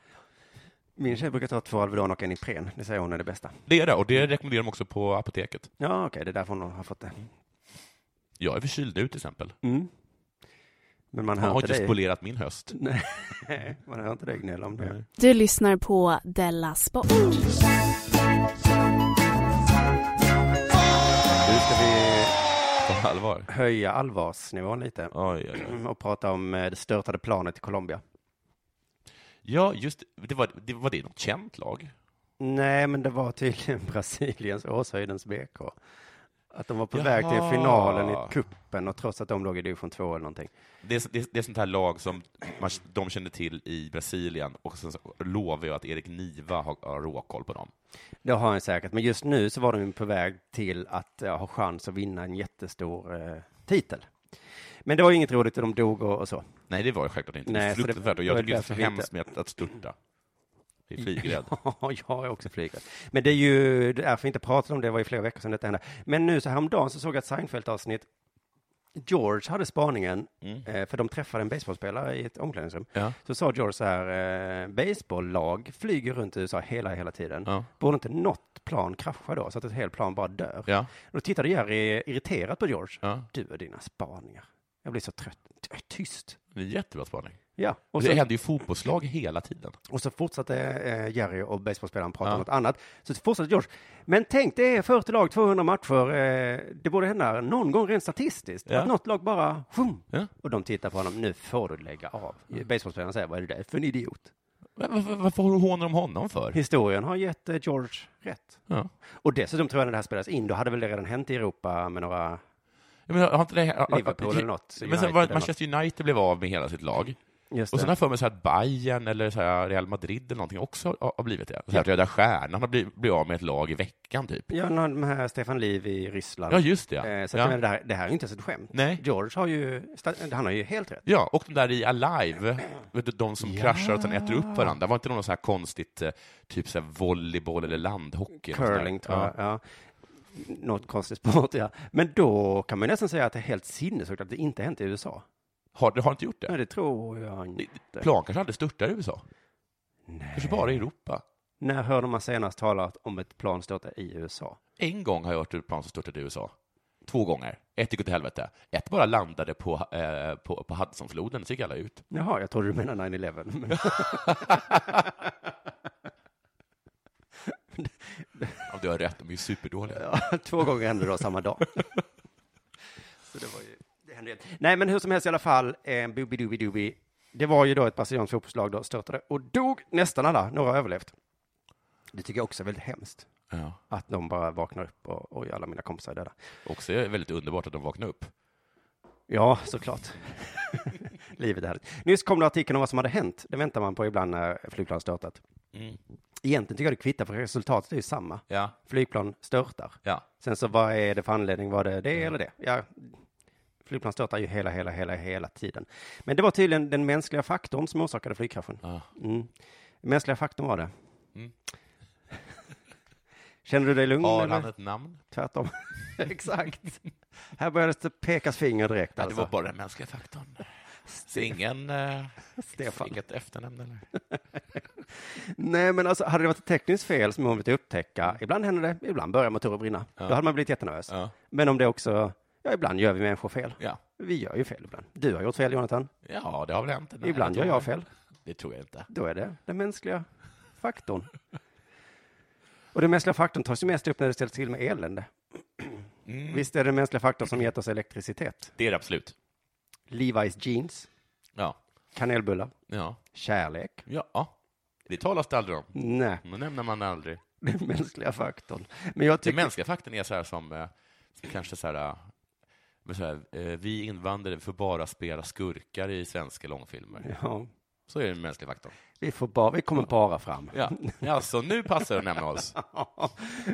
Speaker 3: Min tjej brukar ta två Alvedon och en Ipren. Det säger hon är det bästa.
Speaker 4: Det är det, och det
Speaker 3: Mm.
Speaker 4: rekommenderar de också på apoteket.
Speaker 3: Ja, okej, det är därför hon har fått det.
Speaker 4: Jag är förkyld nu till exempel.
Speaker 3: Mm. Men man
Speaker 4: Jag
Speaker 3: hör,
Speaker 4: har
Speaker 3: inte
Speaker 4: inte
Speaker 3: dig,
Speaker 4: spolerat min höst.
Speaker 3: man hör inte dig gnälla om det.
Speaker 8: Du lyssnar på Della Sport.
Speaker 3: Nu ska vi
Speaker 4: På allvar.
Speaker 3: höja allvarsnivån lite
Speaker 4: Oj, oj, oj.
Speaker 3: och prata om eh, det störtade planet i Colombia.
Speaker 4: Ja, just det. Var det, var det något känt lag?
Speaker 3: Nej, men det var tydligen Brasiliens Åshöjdens BK. Att de var på
Speaker 4: Jaha.
Speaker 3: väg till finalen i kuppen och trots att de låg i division 2 eller någonting.
Speaker 4: Det är, det, är- det är sånt här lag som man, de kände till i Brasilien och sen så lovar jag att Erik Niva har, har råkoll på dem.
Speaker 3: Det har han säkert, men just nu så var de ju på väg till att eh, ha chans att vinna en jättestor eh, titel. Men det var ju inget roligt och de dog och, och så.
Speaker 4: Nej, det var det självklart inte. det
Speaker 3: Nej,
Speaker 4: är
Speaker 3: så det-
Speaker 4: fruktansvärt. och
Speaker 3: det
Speaker 4: jag
Speaker 3: var
Speaker 4: tycker det är
Speaker 3: därför
Speaker 4: så
Speaker 3: vi inte-
Speaker 4: hemskt med att, att störta. Det är flygrädd.
Speaker 3: Ja, jag är också flygrädd. Men det är ju därför vi inte pratar om det, det var ju flera veckor sedan detta hände. Men nu så häromdagen så såg jag ett Seinfeld-avsnitt. George hade spaningen, eh, för de träffade en baseballspelare i ett omklädningsrum.
Speaker 4: Mm. Ja.
Speaker 3: Så sa George så här, eh, baseballlag flyger runt i USA hela, hela tiden.
Speaker 4: Ja.
Speaker 3: Borde inte något plan krascha då, så att ett helt plan bara dör?
Speaker 4: Ja.
Speaker 3: Då tittade Jerry irriterat på George.
Speaker 4: Ja.
Speaker 3: Du och dina spaningar. Jag blir så trött. Tyst!
Speaker 4: Det är jättebra spaning.
Speaker 3: Ja, och
Speaker 4: det
Speaker 3: så-
Speaker 4: händer ju fotbollslag hela tiden.
Speaker 3: Och så fortsatte eh, Jerry och baseballspelaren prata om något annat. Så fortsatte George. Men tänk, det är 40 lag, 200 matcher. Eh, det borde hända någon gång rent statistiskt.
Speaker 4: Ja.
Speaker 3: Att något lag bara... Shum,
Speaker 4: Ja.
Speaker 3: Och de tittar på honom. Nu får du lägga av. Baseballspelaren säger, vad är det där för en idiot?
Speaker 4: Varför, varför hånar de honom för?
Speaker 3: Historien har gett eh, George rätt.
Speaker 4: Ja.
Speaker 3: Och dessutom tror jag när det här spelades in, då hade väl det redan hänt i Europa med några...
Speaker 4: Ja, men har inte det, har- har-
Speaker 3: Liverpool eller något,
Speaker 4: Men
Speaker 3: United
Speaker 4: sen var
Speaker 3: eller
Speaker 4: det Manchester United blev av med hela sitt lag.
Speaker 3: Just
Speaker 4: och
Speaker 3: det.
Speaker 4: sen har jag för mig så här att Bayern eller så här Real Madrid eller någonting också har, har blivit det. Så här, Röda Stjärnan har blivit, blivit av med ett lag i veckan, typ.
Speaker 3: Ja, när de här Stefan Liv i Ryssland.
Speaker 4: Ja, just det, ja.
Speaker 3: Eh, så
Speaker 4: Ja.
Speaker 3: att, jag menar, det, här, det här är ju inte ens ett skämt.
Speaker 4: Nej.
Speaker 3: George har ju... sta- Han har ju helt rätt.
Speaker 4: Ja, och de där i Alive, vet du, de som
Speaker 3: Ja.
Speaker 4: kraschar och sen äter upp varandra. Var inte det något så här konstigt, eh, typ så här volleyboll eller landhockey? eller något sånt där?
Speaker 3: Curling, tror jag. Ja. Något konstigt sport, ja. Men då kan man ju nästan säga att det är helt sinnessjukt att det inte hänt i USA.
Speaker 4: Har, det har inte gjort det?
Speaker 3: Nej, det tror jag inte.
Speaker 4: Plan kanske aldrig störtar i USA? Kanske bara i Europa?
Speaker 3: När hörde man senast talat om ett plan störta i USA?
Speaker 4: En gång har jag hört ett plan som störtade i USA. Två gånger. Ett gick åt helvete. Ett bara landade på, eh, på, på Hudsonfloden, så gick alla ut.
Speaker 3: Jaha, jag trodde du menade 9-11. Men...
Speaker 4: Ja, du har rätt, de är ju superdåliga.
Speaker 3: Ja, två gånger hände det då samma dag. Så det var ju, det hände ju. Nej, men hur som helst i alla fall, eh, boobidoobidoobie. Det var ju då ett brasilianskt fotbollslag då, störtade och dog nästan alla, några har överlevt. Det tycker jag också är väldigt hemskt.
Speaker 4: Ja.
Speaker 3: Att de bara vaknar upp och, och alla mina kompisar är döda.
Speaker 4: Också är det väldigt underbart att de vaknade upp.
Speaker 3: Ja, såklart. Livet är härligt. Nyss kom det artikeln om vad som hade hänt. Det väntar man på ibland när flygplan störtat.
Speaker 4: Mm.
Speaker 3: Egentligen tycker jag det kvittar, för resultatet är ju samma.
Speaker 4: Ja.
Speaker 3: Flygplan störtar.
Speaker 4: Ja. Mm.
Speaker 3: Sen så vad är det för anledning? Var det det eller det? Ja. Flygplan störtar ju hela, hela, hela, hela tiden. Men det var tydligen den mänskliga faktorn som orsakade flygkraschen.
Speaker 4: Ja.
Speaker 3: Mm. Mänskliga faktorn var det.
Speaker 4: Mm.
Speaker 3: Känner du dig lugn?
Speaker 4: Har
Speaker 3: eller?
Speaker 4: han ett namn?
Speaker 3: Tvärtom. Exakt. Här började det pekas finger direkt.
Speaker 4: Ja,
Speaker 3: Alltså.
Speaker 4: Det var bara den mänskliga faktorn. Så ingen... Eh,
Speaker 3: Stefan.
Speaker 4: Inget efternamn eller?
Speaker 3: Nej, men alltså, hade det varit ett tekniskt fel som man vill upptäcka, ibland händer det, ibland börjar motorer brinna. Då hade man blivit jättenervös.
Speaker 4: Ja.
Speaker 3: Men om det också, ja, ibland gör vi människor fel.
Speaker 4: Ja.
Speaker 3: Vi gör ju fel ibland. Du har gjort fel, Jonathan.
Speaker 4: Ja, det har väl hänt. Nej,
Speaker 3: ibland gör
Speaker 4: tror
Speaker 3: jag fel.
Speaker 4: Det tror jag inte.
Speaker 3: Då är det den mänskliga faktorn. Och den mänskliga faktorn tas ju mest upp när det ställs till med elände.
Speaker 4: Mm.
Speaker 3: Visst är det den mänskliga faktorn som gett oss elektricitet?
Speaker 4: Det är det absolut.
Speaker 3: Levi's jeans,
Speaker 4: Ja.
Speaker 3: kanelbullar,
Speaker 4: Ja.
Speaker 3: kärlek.
Speaker 4: Ja. Det talas det aldrig om.
Speaker 3: Nej,
Speaker 4: Det nämner man aldrig.
Speaker 3: den mänskliga faktorn. Men jag
Speaker 4: Den
Speaker 3: tycker...
Speaker 4: mänskliga faktorn är så här som, eh, som kanske så här, eh, men så här eh, vi invandrare får bara spela skurkar i svenska långfilmer.
Speaker 3: Ja,
Speaker 4: Så är den mänskliga faktorn.
Speaker 3: vi, får bara, vi kommer bara fram.
Speaker 4: Ja, alltså nu passar det att nämna oss.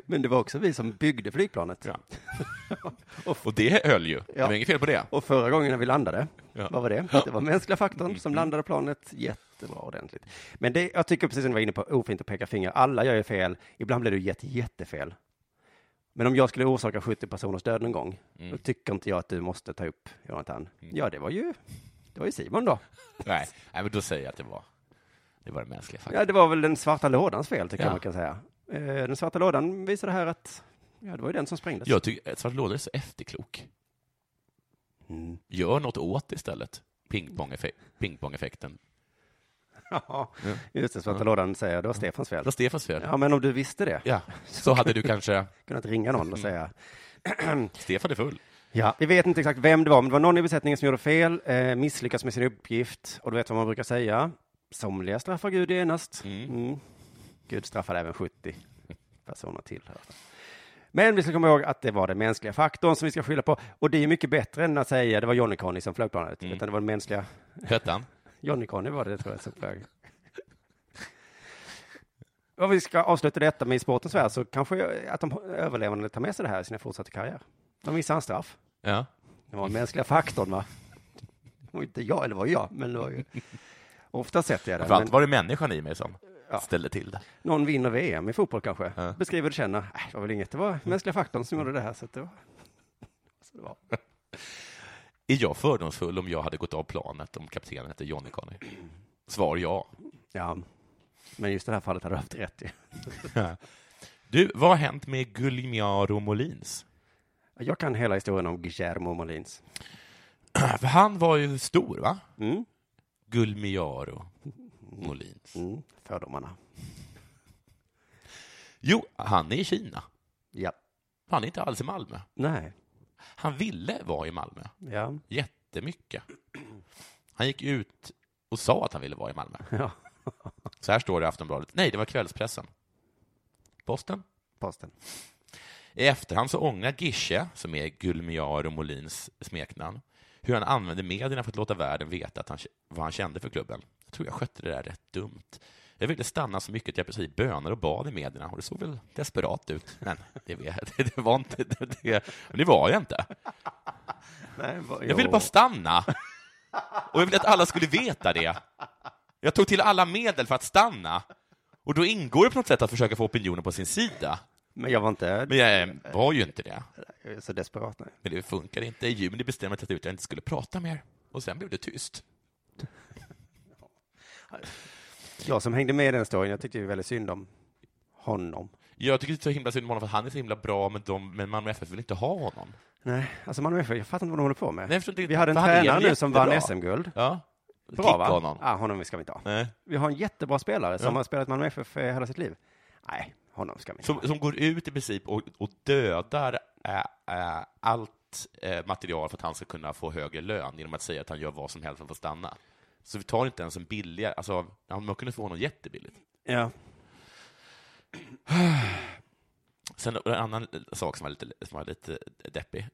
Speaker 3: Men det var också vi som byggde flygplanet.
Speaker 4: Och det höll ju. Det
Speaker 3: Ja.
Speaker 4: var inget fel på det.
Speaker 3: Och förra gången när vi landade,
Speaker 4: Ja. Mm.
Speaker 3: vad var det? Det var mänskliga faktorn som landade planet jättebra ordentligt. Men det, jag tycker precis som du var inne på, ofint att peka finger. Alla gör ju fel. Ibland blir det ju jätte, jättefel. Men om jag skulle orsaka 70 personers död en gång,
Speaker 4: Mm.
Speaker 3: då tycker inte jag att du måste ta upp Jonathan. Ja, det var ju, det var ju Simon då.
Speaker 4: Nej, nej men då säger jag att det var, det var den mänskliga faktorn.
Speaker 3: Ja, det var väl den svarta lådans fel, tycker
Speaker 4: Ja.
Speaker 3: jag man kan säga. Eh, Den svarta lådan visade här att, ja, det var ju den som sprängdes.
Speaker 4: Jag tycker att Svart låda är så efterklok.
Speaker 3: Mm.
Speaker 4: Gör något åt det istället. Pingpong-effe- Pingpong-effekten.
Speaker 3: Ja, just det, svarta lådan säger, det var Stefans fel.
Speaker 4: Det var Stefans fel.
Speaker 3: Ja, men om du visste det,
Speaker 4: Ja, så hade du kanske...
Speaker 3: kunnat ringa någon och säga,
Speaker 4: Stefan är full.
Speaker 3: Ja, vi vet inte exakt vem det var, men det var någon i besättningen som gjorde fel, eh, misslyckas med sin uppgift, och du vet vad man brukar säga? Somliga straffar Gud genast. Mm. Gud straffade även 70 personer till. här. Men vi ska komma ihåg att det var den mänskliga faktorn som vi ska skylla på, och det är mycket bättre än att säga det var Johnny Conny som flög planet, utan det var den mänskliga
Speaker 4: Hette han?
Speaker 3: Johnny Conny var det, tror jag, som flög. Om vi ska avsluta detta med i sportens värld så kanske att de överlevande tar med sig det här i sina fortsatta karriär. De missar en straff.
Speaker 4: Ja.
Speaker 3: Det var den mänskliga faktorn, va? Det var inte jag, eller var jag, men det var ju... Ofta sätter jag det.
Speaker 4: För allt
Speaker 3: Men
Speaker 4: var det människan i mig som
Speaker 3: Ja.
Speaker 4: ställde till det.
Speaker 3: någon vinner VM i fotboll kanske. Beskriver du känner. Äh, det var väl inget, det var mänskliga faktorn som gjorde det här. Så att det var... Så det var.
Speaker 4: Är jag fördomsfull om jag hade gått av planet om kaptenen hette Johnny Conny? Svar ja.
Speaker 3: Ja. Men just i det här fallet hade du haft rätt i.
Speaker 4: Du, vad har hänt med Guglielmo Molins?
Speaker 3: Jag kan hela historien om Guillermo Molins.
Speaker 4: För han var ju stor, va?
Speaker 3: Mm.
Speaker 4: Gulmiaro Molins.
Speaker 3: Mm, fördomarna.
Speaker 4: Jo, han är i Kina.
Speaker 3: Ja.
Speaker 4: Han är inte alls i Malmö.
Speaker 3: Nej.
Speaker 4: Han ville vara i Malmö.
Speaker 3: Ja.
Speaker 4: Jättemycket. Han gick ut och sa att han ville vara i Malmö.
Speaker 3: Ja.
Speaker 4: Så här står det i Aftonbladet. Nej, det var kvällspressen. Posten?
Speaker 3: Posten.
Speaker 4: I efterhand så ångrar Gische, som är Gulmiaro Molins smeknamn, hur han använde medierna för att låta världen veta att han, vad han kände för klubben. Jag tror jag skötte det där rätt dumt. Jag ville stanna så mycket att jag precis bönade och bad i medierna och det såg väl desperat ut. Men det, vet- det var inte... Det, det, men det var jag inte.
Speaker 3: Nej, va-
Speaker 4: Jag ville
Speaker 3: jo.
Speaker 4: bara stanna. Och jag ville att alla skulle veta det. Jag tog till alla medel för att stanna. Och då ingår det på något sätt att försöka få opinionen på sin sida.
Speaker 3: Men jag var inte...
Speaker 4: Men jag eh, var ju inte det.
Speaker 3: Jag är så desperat nu.
Speaker 4: Men det funkade inte. I juni bestämde jag mig till att jag inte skulle prata mer. Och sen blev det tyst.
Speaker 3: Jag som hängde med i den storyn, jag tyckte ju väldigt synd om honom.
Speaker 4: Jag tycker det är så himla synd om honom för att han är så himla bra, men, de, men Malmö FF vill inte ha honom.
Speaker 3: Nej, alltså Malmö FF, jag fattar inte vad de håller på med.
Speaker 4: Nej, jag förstår inte.
Speaker 3: vi hade en
Speaker 4: För han är
Speaker 3: tränare
Speaker 4: väl
Speaker 3: nu som
Speaker 4: jättebra.
Speaker 3: vann SM-guld.
Speaker 4: Ja.
Speaker 3: Bra
Speaker 4: Kicka
Speaker 3: va?
Speaker 4: honom.
Speaker 3: Ja, honom ska vi inte ha.
Speaker 4: Nej.
Speaker 3: Vi har en jättebra spelare som
Speaker 4: Ja.
Speaker 3: har spelat Malmö FF hela sitt liv. Nej, honom ska vi inte
Speaker 4: Som, som går ut i princip och, och dödar äh, äh, allt eh, material för att han ska kunna få högre lön genom att säga att han gör vad som helst för att få stanna. Så vi tar inte ens en billigare, alltså man kunde få honom jättebilligt.
Speaker 3: Ja.
Speaker 4: Sen en annan sak som var lite, som var lite deppig.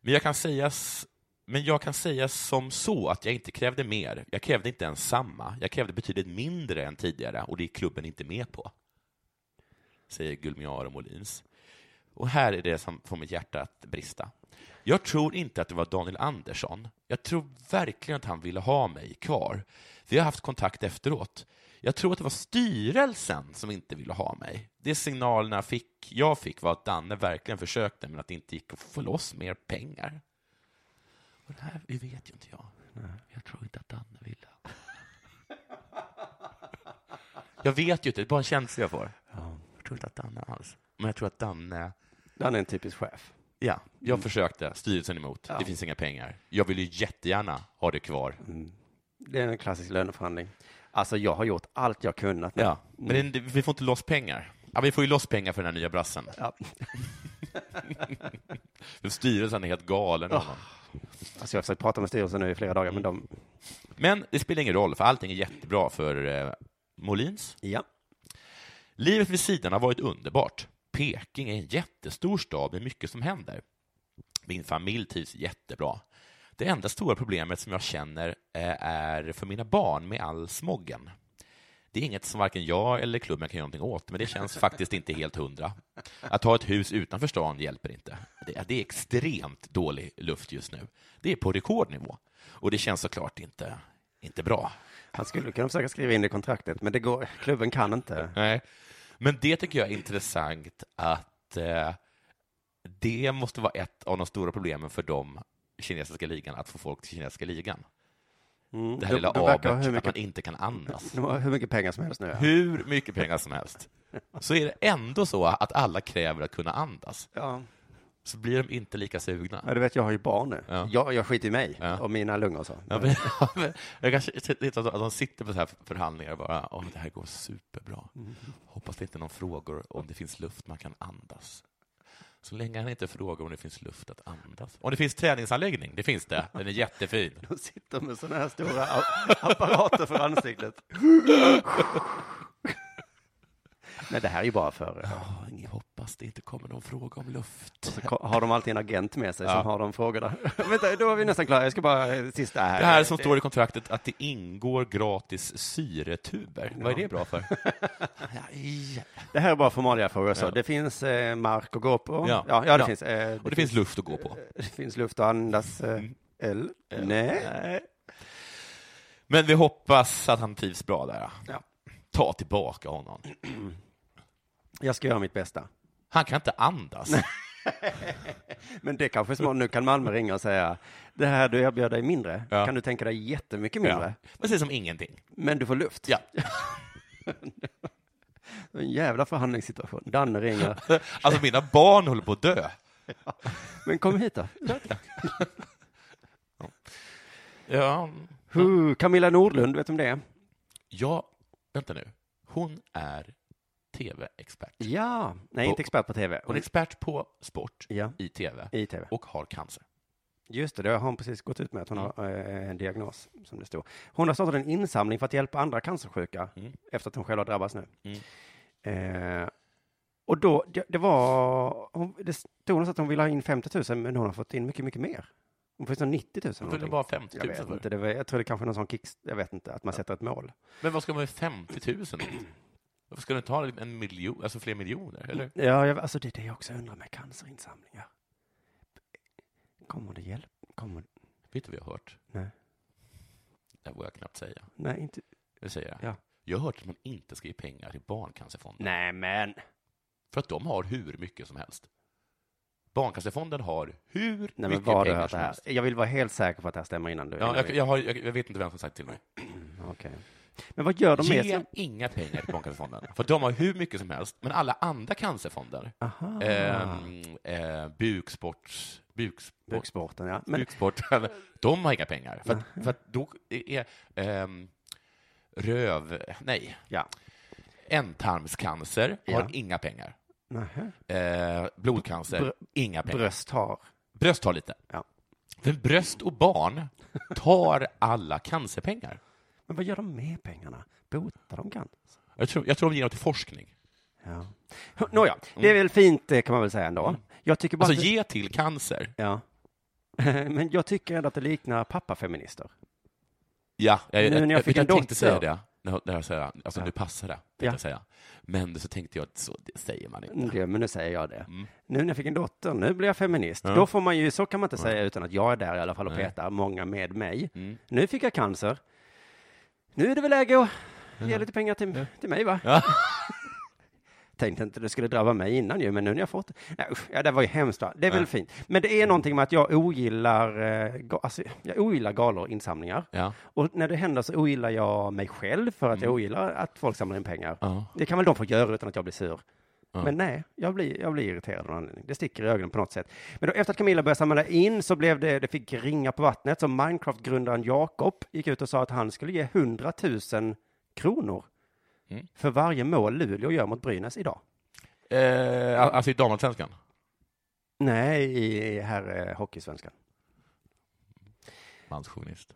Speaker 4: Men jag, kan sägas, men jag kan säga som så att jag inte krävde mer. Jag krävde inte ens samma. Jag krävde betydligt mindre än tidigare och det är klubben inte med på. Säger Gulmiaro Molins. Och här är det som får mitt hjärta att brista. Jag tror inte att det var Daniel Andersson. Jag tror verkligen att han ville ha mig kvar. Vi har haft kontakt efteråt. Jag tror att det var styrelsen som inte ville ha mig. Det signalerna jag fick, jag fick var att Danne verkligen försökte, men att det inte gick att få loss mer pengar. Och det här det vet ju inte jag. Jag tror inte att Danne ville. Jag vet ju inte, det är bara en känsla jag får. Jag tror inte att Danne alls. Men jag tror att Danne...
Speaker 3: Han är en typisk chef.
Speaker 4: Ja, jag försökte. Styrelsen emot.
Speaker 3: Ja.
Speaker 4: Det finns inga pengar. Jag vill ju jättegärna ha det kvar.
Speaker 3: Det är en klassisk löneförhandling. Alltså, jag har gjort allt jag kunnat. nu.
Speaker 4: Ja, men det, vi får inte loss pengar. Ja, vi får ju loss pengar för den här nya brassen.
Speaker 3: Ja.
Speaker 4: För Styrelsen är helt galen. av honom.
Speaker 3: Oh. Alltså, jag har försökt prata med styrelsen nu i flera dagar, men
Speaker 4: Mm.
Speaker 3: de...
Speaker 4: Men det spelar ingen roll, för allting är jättebra för eh, Molins.
Speaker 3: Ja.
Speaker 4: Livet vid sidan har varit underbart. Peking är en jättestor stad med mycket som händer. Min familj trivs jättebra. Det enda stora problemet som jag känner eh, är för mina barn med all smoggen. Det är inget som varken jag eller klubben kan göra någonting åt, men det känns faktiskt inte helt hundra. Att ha ett hus utanför stan hjälper inte. Det, det är extremt dålig luft just nu. Det är på rekordnivå. Och det känns såklart inte, inte bra.
Speaker 3: Han skulle kunna försöka skriva in det i kontraktet, men det går... klubben kan inte.
Speaker 4: Nej. Men det tycker jag är intressant att eh, det måste vara ett av de stora problemen för dem i kinesiska ligan, att få folk till kinesiska ligan.
Speaker 3: Mm.
Speaker 4: Det här lilla
Speaker 3: de verkar ha
Speaker 4: abet,
Speaker 3: hur
Speaker 4: att man
Speaker 3: mycket,
Speaker 4: inte kan andas.
Speaker 3: de har hur mycket pengar som helst nu. ja.
Speaker 4: Hur mycket pengar som helst. Så är det ändå så att alla kräver att kunna andas.
Speaker 3: Ja.
Speaker 4: Så blir de inte lika sugna.
Speaker 3: Ja, du vet, jag har ju barn nu.
Speaker 4: Ja.
Speaker 3: Jag, jag skiter i mig
Speaker 4: Ja.
Speaker 3: och mina lungor och så.
Speaker 4: Ja, men, jag kanske lite att de sitter på så här förhandlingar och bara Åh, det här går superbra. Hoppas det inte är någon frågor om det finns luft man kan andas. Så länge han inte frågar om det finns luft att andas. Om det finns träningsanläggning, det finns det. Den är jättefin.
Speaker 3: De sitter med sådana här stora a- apparater för ansiktet. Nej, det här är ju bara för...
Speaker 4: Ja, jag hoppas det inte kommer någon fråga om luft.
Speaker 3: Så ko- har de alltid en agent med sig som har de frågorna. Vänta, då är vi nästan klara. Jag ska bara eh, sista här.
Speaker 4: Det här som står i kontraktet att det ingår gratis syretuber. Vad är det bra för? Nej.
Speaker 3: Det här är bara formaliafrågor. Så. Det finns eh, mark att gå på.
Speaker 4: Ja.
Speaker 3: ja, ja, det,
Speaker 4: Ja.
Speaker 3: Finns, eh,
Speaker 4: Och det finns luft Mm. att gå på.
Speaker 3: det finns luft att andas. Eh, L? Nej.
Speaker 4: Men vi hoppas att han trivs bra där.
Speaker 3: Ja.
Speaker 4: Ta tillbaka honom.
Speaker 3: Jag ska göra mitt bästa.
Speaker 4: Han kan inte andas.
Speaker 3: Men det kanske är smart. Nu kan Malmö ringa och säga, det här du erbjöd dig mindre,
Speaker 4: Ja.
Speaker 3: kan du tänka dig jättemycket
Speaker 4: Ja.
Speaker 3: mindre,
Speaker 4: Precis som ingenting.
Speaker 3: men du får luft.
Speaker 4: Ja.
Speaker 3: En jävla förhandlingssituation. Danne ringer.
Speaker 4: Alltså mina barn håller på att dö.
Speaker 3: Men kom hit då.
Speaker 4: Ja,
Speaker 3: Huh, Camilla Nordlund, vet du om det är?
Speaker 4: Ja, vänta nu. Hon är tv-expert.
Speaker 3: Ja, nej, inte expert på tv.
Speaker 4: Hon är expert på sport
Speaker 3: Ja.
Speaker 4: i, TV
Speaker 3: I TV.
Speaker 4: och har cancer.
Speaker 3: Just det, det har hon precis gått ut med att hon har eh, en diagnos som det står. Hon har startat en insamling för att hjälpa andra cancersjuka efter att hon själv har drabbats nu. Eh, och då, det, det var, hon, det stod någonstans att hon ville ha in 50 000 men hon har fått in mycket, mycket mer. Hon får in 90 000.
Speaker 4: Hon
Speaker 3: någonting.
Speaker 4: ville bara 50 000
Speaker 3: jag vet
Speaker 4: för.
Speaker 3: inte, det var, Jag tror det kanske är någon sån kick, jag vet inte, att man sätter ett mål.
Speaker 4: Men vad ska man med 50 000 till? Varför ska du inte ha en miljon, alltså fler miljoner? Eller?
Speaker 3: Ja, jag, alltså det är det jag också undrar med cancerinsamlingar. Kommer det hjälpa? Kommer...
Speaker 4: Vet du vad jag har hört?
Speaker 3: Nej.
Speaker 4: Det här vågar jag knappt säga.
Speaker 3: Nej, inte...
Speaker 4: Det säger jag.
Speaker 3: Ja.
Speaker 4: Jag har hört att man inte ska ge pengar till Barncancerfonden.
Speaker 3: Nej, men.
Speaker 4: För att de har hur mycket som helst. Barncancerfonden har hur
Speaker 3: Nej, men
Speaker 4: mycket
Speaker 3: vad har du
Speaker 4: pengar
Speaker 3: hört det
Speaker 4: som
Speaker 3: här?
Speaker 4: helst.
Speaker 3: Jag vill vara helt säker på att det här stämmer innan du...
Speaker 4: Ja,
Speaker 3: innan
Speaker 4: jag,
Speaker 3: vi-
Speaker 4: jag, har, jag, jag vet inte vem som sagt till mig.
Speaker 3: Okej. Men vad gör de med
Speaker 4: Ge
Speaker 3: sin-
Speaker 4: inga pengar till Barncancerfonden. För de har hur mycket som helst. Men alla andra cancerfonder,
Speaker 3: Aha.
Speaker 4: ehm, eh, buksports, buksport,
Speaker 3: Buksporten, ja. Men- Mm.
Speaker 4: buksporten, de har inga pengar. För, att, för att då är ehm, röv... Nej.
Speaker 3: Ja.
Speaker 4: Ändtarmscancer har
Speaker 3: Ja.
Speaker 4: inga pengar.
Speaker 3: Nähä.
Speaker 4: Eh, blodcancer,
Speaker 3: Br-
Speaker 4: inga pengar.
Speaker 3: Bröst har.
Speaker 4: Bröst har lite.
Speaker 3: Ja.
Speaker 4: För bröst och barn tar alla cancerpengar.
Speaker 3: Men vad gör de med pengarna? Botar de cancer?
Speaker 4: Jag tror, jag tror de ger dem till forskning.
Speaker 3: Ja. Nåja, det är väl fint eh, kan man väl säga ändå. Jag tycker bara
Speaker 4: Mm. Alltså
Speaker 3: att...
Speaker 4: ge till cancer.
Speaker 3: Ja. Men jag tycker ändå att det liknar pappafeminister.
Speaker 4: Ja, jag,
Speaker 3: Nu när jag
Speaker 4: jag, jag,
Speaker 3: fick
Speaker 4: jag,
Speaker 3: en dotter.
Speaker 4: tänkte säga det. När, när jag säger, alltså nu passar det, tänkte
Speaker 3: Ja.
Speaker 4: jag säga. Men så tänkte jag att så det säger man inte.
Speaker 3: Det, men Mm, nu säger jag det. Nu när jag fick en dotter, nu blir jag feminist.
Speaker 4: Mm. Ja. Mm.
Speaker 3: Då får man ju, så kan man inte säga utan att jag är där i alla fall och petar, många med mig. Nu fick jag cancer. Nu är det väl läge att ge lite pengar till, till mig va? Tänkte inte det skulle drabba mig innan ju, men nu när jag fått det. Nej, usch, ja, det var ju hemskt. va? Det är väl fint. Men det
Speaker 4: Mm.
Speaker 3: är någonting med att jag ogillar, eh, ga- alltså, jag ogillar galor och insamlingar.
Speaker 4: Ja. Mm.
Speaker 3: Och när det händer så ogillar jag mig själv för att jag ogillar att folk samlar in pengar.
Speaker 4: Ja.
Speaker 3: Det kan väl de få göra utan att jag blir sur.
Speaker 4: Ja.
Speaker 3: Men nej, jag blir, jag blir irriterad av någon anledning. Det sticker i ögonen på något sätt. Men då, efter att Camilla började samla in så blev det, det fick ringa på vattnet. Så Minecraft-grundaren Jakob gick ut och sa att han skulle ge 100 000 kronor
Speaker 4: Mm.
Speaker 3: för varje mål Luleå gör mot Brynäs idag.
Speaker 4: Eh, alltså i damallsvenskan?
Speaker 3: Nej, i här eh, hockeysvenskan.
Speaker 4: Mansjournalist.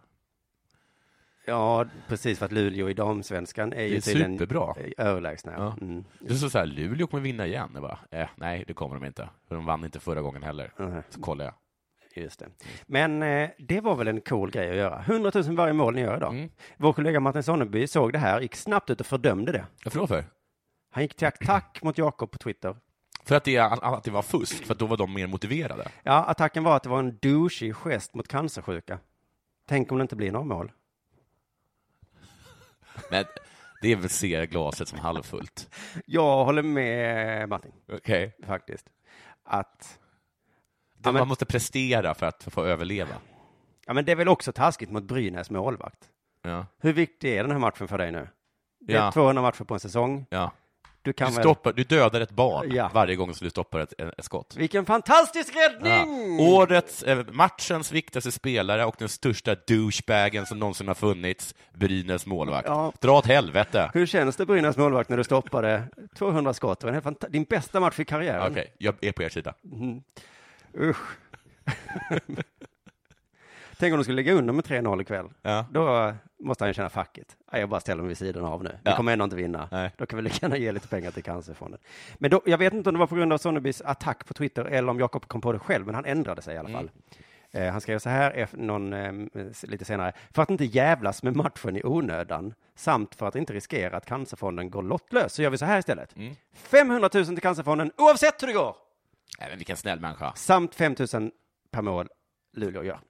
Speaker 3: Ja, precis för att Luleå i damsvenskan är ju
Speaker 4: Det är
Speaker 3: tydligen
Speaker 4: superbra.
Speaker 3: överlägsna.
Speaker 4: Ja.
Speaker 3: Mm.
Speaker 4: Det är så så här, Luleå kommer vinna igen. Jag bara, eh, nej, det kommer de inte. För de vann inte förra gången heller.
Speaker 3: Nej.
Speaker 4: Så kollar jag.
Speaker 3: Just det. Men eh, det var väl en cool grej att göra. 100 000 varje mål ni gör idag.
Speaker 4: Mm.
Speaker 3: Vår kollega Martin Sonneby såg det här, gick snabbt ut och fördömde det.
Speaker 4: Varför då för?
Speaker 3: Han gick till attack mot Jakob på Twitter.
Speaker 4: För att det, att det var fusk, för att då var de mer motiverade.
Speaker 3: Ja, attacken var att det var en douchig gest mot cancersjuka. Tänk om det inte blir några mål.
Speaker 4: Men det är väl se glaset som halvfullt.
Speaker 3: Jag håller med eh, Martin,
Speaker 4: Okej.
Speaker 3: faktiskt. Att,
Speaker 4: Man måste prestera för att få överleva.
Speaker 3: ja men det är väl också taskigt mot Brynäs målvakt.
Speaker 4: Ja.
Speaker 3: Hur viktig är den här matchen för dig nu? Det är
Speaker 4: Ja.
Speaker 3: 200 matcher på en säsong.
Speaker 4: Ja.
Speaker 3: Du kan
Speaker 4: Du,
Speaker 3: väl...
Speaker 4: stoppar, du dödar ett barn
Speaker 3: Ja.
Speaker 4: varje gång som du stoppar ett, ett skott.
Speaker 3: Vilken fantastisk
Speaker 4: Ja.
Speaker 3: räddning!
Speaker 4: Årets, eh, matchens viktigaste spelare och den största douchebagen som någonsin har funnits, Brynäs målvakt.
Speaker 3: Ja.
Speaker 4: Dra åt helvete!
Speaker 3: Hur känns det Brynäs målvakt när du stoppade 200 skott? Det var en helt fanta- din bästa match i
Speaker 4: Okej,
Speaker 3: karriären.
Speaker 4: jag är på er sida.
Speaker 3: Usch. Tänk om de skulle lägga under med 3-0 ikväll.
Speaker 4: Ja.
Speaker 3: Då måste han ju känna facket. Jag bara ställer mig vid sidan av nu. Vi
Speaker 4: Ja.
Speaker 3: kommer ändå inte vinna.
Speaker 4: Nej.
Speaker 3: Då kan vi lika gärna ge lite pengar till Cancerfonden. Men då, jag vet inte om det var på grund av Sonnebys attack på Twitter eller om Jakob kom på det själv, men han ändrade sig i alla
Speaker 4: Mm.
Speaker 3: fall. Eh, han skrev så här ef- någon, eh, s- lite senare. För att inte jävlas med matchen i onödan samt för att inte riskera att Cancerfonden går lottlös så gör vi så här istället.
Speaker 4: Mm.
Speaker 3: 500 000 till Cancerfonden oavsett hur det går!
Speaker 4: Nej, men vilken snäll människa.
Speaker 3: samt 5 000 per mål Luleå gör.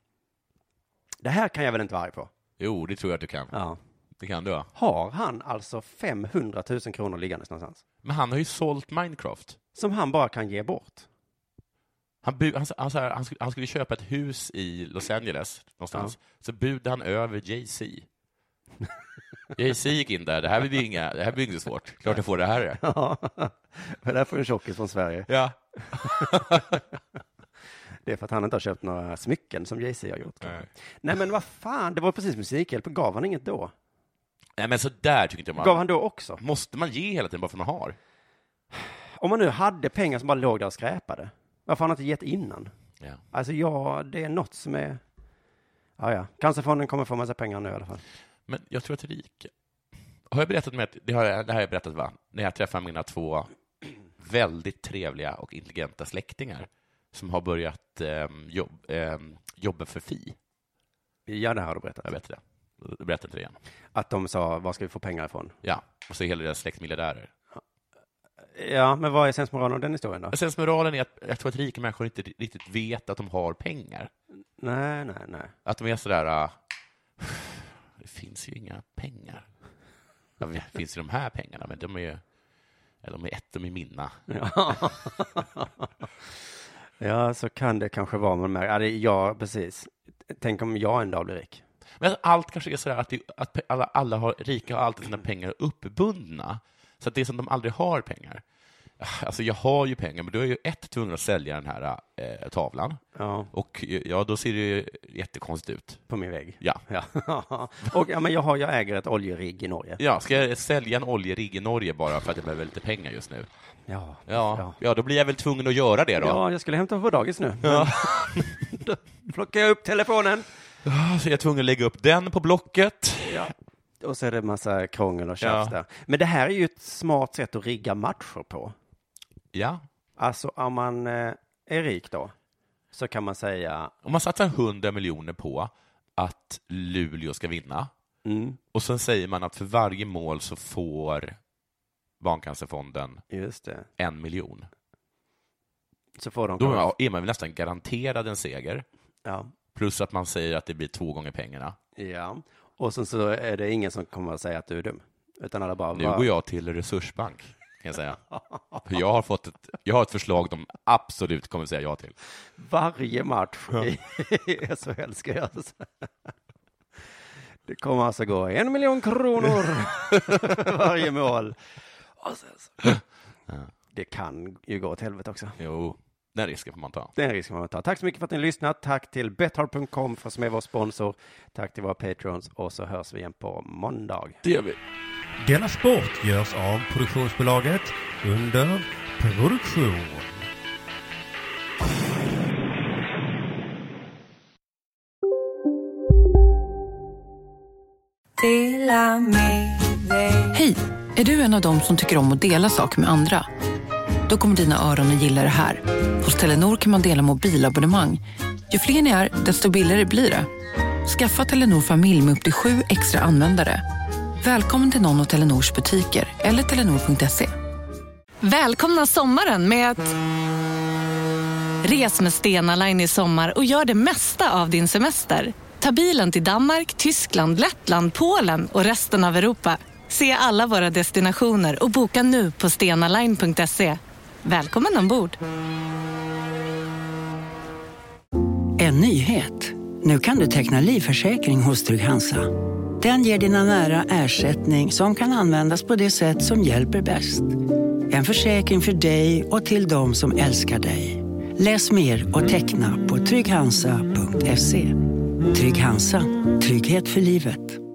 Speaker 3: Det här kan jag väl inte vara arg på?
Speaker 4: Jo, det tror jag att du kan.
Speaker 3: Ja.
Speaker 4: Det kan du, ja.
Speaker 3: Har han alltså 500 000 kronor liggandes någonstans?
Speaker 4: Men han har ju sålt Minecraft.
Speaker 3: Som han bara kan ge bort?
Speaker 4: Han, bu- han, han, så här, han, skulle, han skulle köpa ett hus i Los Angeles någonstans, så budade han över Jay-Z. Jay-Z gick in där, det här blir inga, det här blir inget svårt, klart jag får det här.
Speaker 3: Ja, det där får en tjockis från Sverige.
Speaker 4: Ja.
Speaker 3: Det är för att han inte har köpt några smycken som Jay-Z har gjort. Nej. Nej, men vad fan, det var precis Musikhjälpen. Gav han inget då?
Speaker 4: Nej, men så där tycker inte man.
Speaker 3: Gav han då också?
Speaker 4: Måste man ge hela tiden bara för man har?
Speaker 3: Om man nu hade pengar som bara låg där och skräpade, varför har han inte gett innan?
Speaker 4: Ja.
Speaker 3: Alltså, ja, det är något som är... Ja, ja. Cancerfonden kommer få massa pengar nu i alla fall.
Speaker 4: Men jag tror att Rike... Har jag berättat med att, det, har jag, det här har jag berättat, va? När jag träffar mina två väldigt trevliga och intelligenta släktingar som har börjat eh, jobb, eh, jobba för Fi.
Speaker 3: Ja, det har du berättat.
Speaker 4: Jag vet det. Jag berättar inte det igen.
Speaker 3: Att de sa, var ska vi få pengar ifrån?
Speaker 4: Ja, och så är hela deras släkt miljardärer.
Speaker 3: Ja, men vad är sensmoralen av den historien
Speaker 4: Alltså-
Speaker 3: då?
Speaker 4: Sensmoralen är att jag tror att rika människor inte riktigt vet att de har pengar.
Speaker 3: Nej, nej, nej.
Speaker 4: Att de är sådär, uh, det finns ju inga pengar. Ja, det finns ju de här pengarna, men de är ju, ja, de är ett, de är mina.
Speaker 3: Ja. ja, så kan det kanske vara. Man märker. Ja, det- ja, precis. Tänk om jag en dag blir rik.
Speaker 4: Men Alltså, allt kanske är sådär att, det, att pe- alla, alla har, rika har alltid sina pengar uppbundna, så att det är som de aldrig har pengar. Alltså, jag har ju pengar, men då är jag ju ett tvungen att sälja den här eh, tavlan.
Speaker 3: Ja.
Speaker 4: Och eh, ja, då ser det ju jättekonstigt ut.
Speaker 3: På min vägg?
Speaker 4: Ja.
Speaker 3: Ja. och ja, men jag, har, jag äger ett oljerigg i Norge.
Speaker 4: Ja, ska jag sälja en oljerigg i Norge bara för att jag behöver lite pengar just nu?
Speaker 3: Ja.
Speaker 4: Ja, ja då blir jag väl tvungen att göra det då.
Speaker 3: Ja, jag skulle hämta på dagis nu. Ja. då plockar jag upp telefonen.
Speaker 4: Ah, Så jag är tvungen att lägga upp den på Blocket.
Speaker 3: Ja. Och så är det massa krångel och tjafs där. Men det här är ju ett smart sätt att rigga matcher på.
Speaker 4: Ja.
Speaker 3: Alltså om man eh, är rik då, så kan man säga,
Speaker 4: Om man satsar 100 miljoner på att Luleå ska vinna
Speaker 3: Mm.
Speaker 4: och sen säger man att för varje mål så får Barncancerfonden
Speaker 3: just det,
Speaker 4: en miljon.
Speaker 3: så får de
Speaker 4: Då är
Speaker 3: kanske-
Speaker 4: man- är man väl nästan garanterad en seger,
Speaker 3: ja.
Speaker 4: plus att man säger att det blir två gånger pengarna.
Speaker 3: ja. Och sen så är det ingen som kommer att säga att du är dum. Utan alla bara,
Speaker 4: Nu
Speaker 3: "Va?"
Speaker 4: går jag till resursbank, kan jag säga. För jag har, fått ett, jag har ett förslag de absolut kommer säga ja till.
Speaker 3: varje match i SHL ska göras. Det kommer alltså gå en miljon kronor varje mål. Och sen så. Det kan ju gå åt helvete också.
Speaker 4: Jo, den risken får man ta.
Speaker 3: Den risken får man ta. Tack så mycket för att ni har lyssnat. Tack till Betthard.com för som är vår sponsor. Tack till våra patrons och så hörs vi igen på måndag.
Speaker 4: Det gör vi.
Speaker 9: Denna sport görs av produktionsbolaget under produktion.
Speaker 10: Hej! Är du en av dem som tycker om att dela saker med andra? Då kommer dina öron att gilla det här. Hos Telenor kan man dela mobilabonnemang. Ju fler ni är, desto billigare blir det. Skaffa Telenor familj med upp till sju extra användare. Välkommen till någon av Telenors butiker eller telenor.se.
Speaker 11: Välkomna sommaren med att... Res med Stena Line i sommar och gör det mesta av din semester. Ta bilen till Danmark, Tyskland, Lettland, Polen och resten av Europa. Se alla våra destinationer och boka nu på stenaline.se. Välkommen ombord!
Speaker 12: En nyhet. Nu kan du teckna livförsäkring hos Trygg-Hansa. Den ger dina nära ersättning som kan användas på det sätt som hjälper bäst. En försäkring för dig och till de som älskar dig. Läs mer och teckna på trygghansa.se. Trygg-Hansa. Trygghet för livet.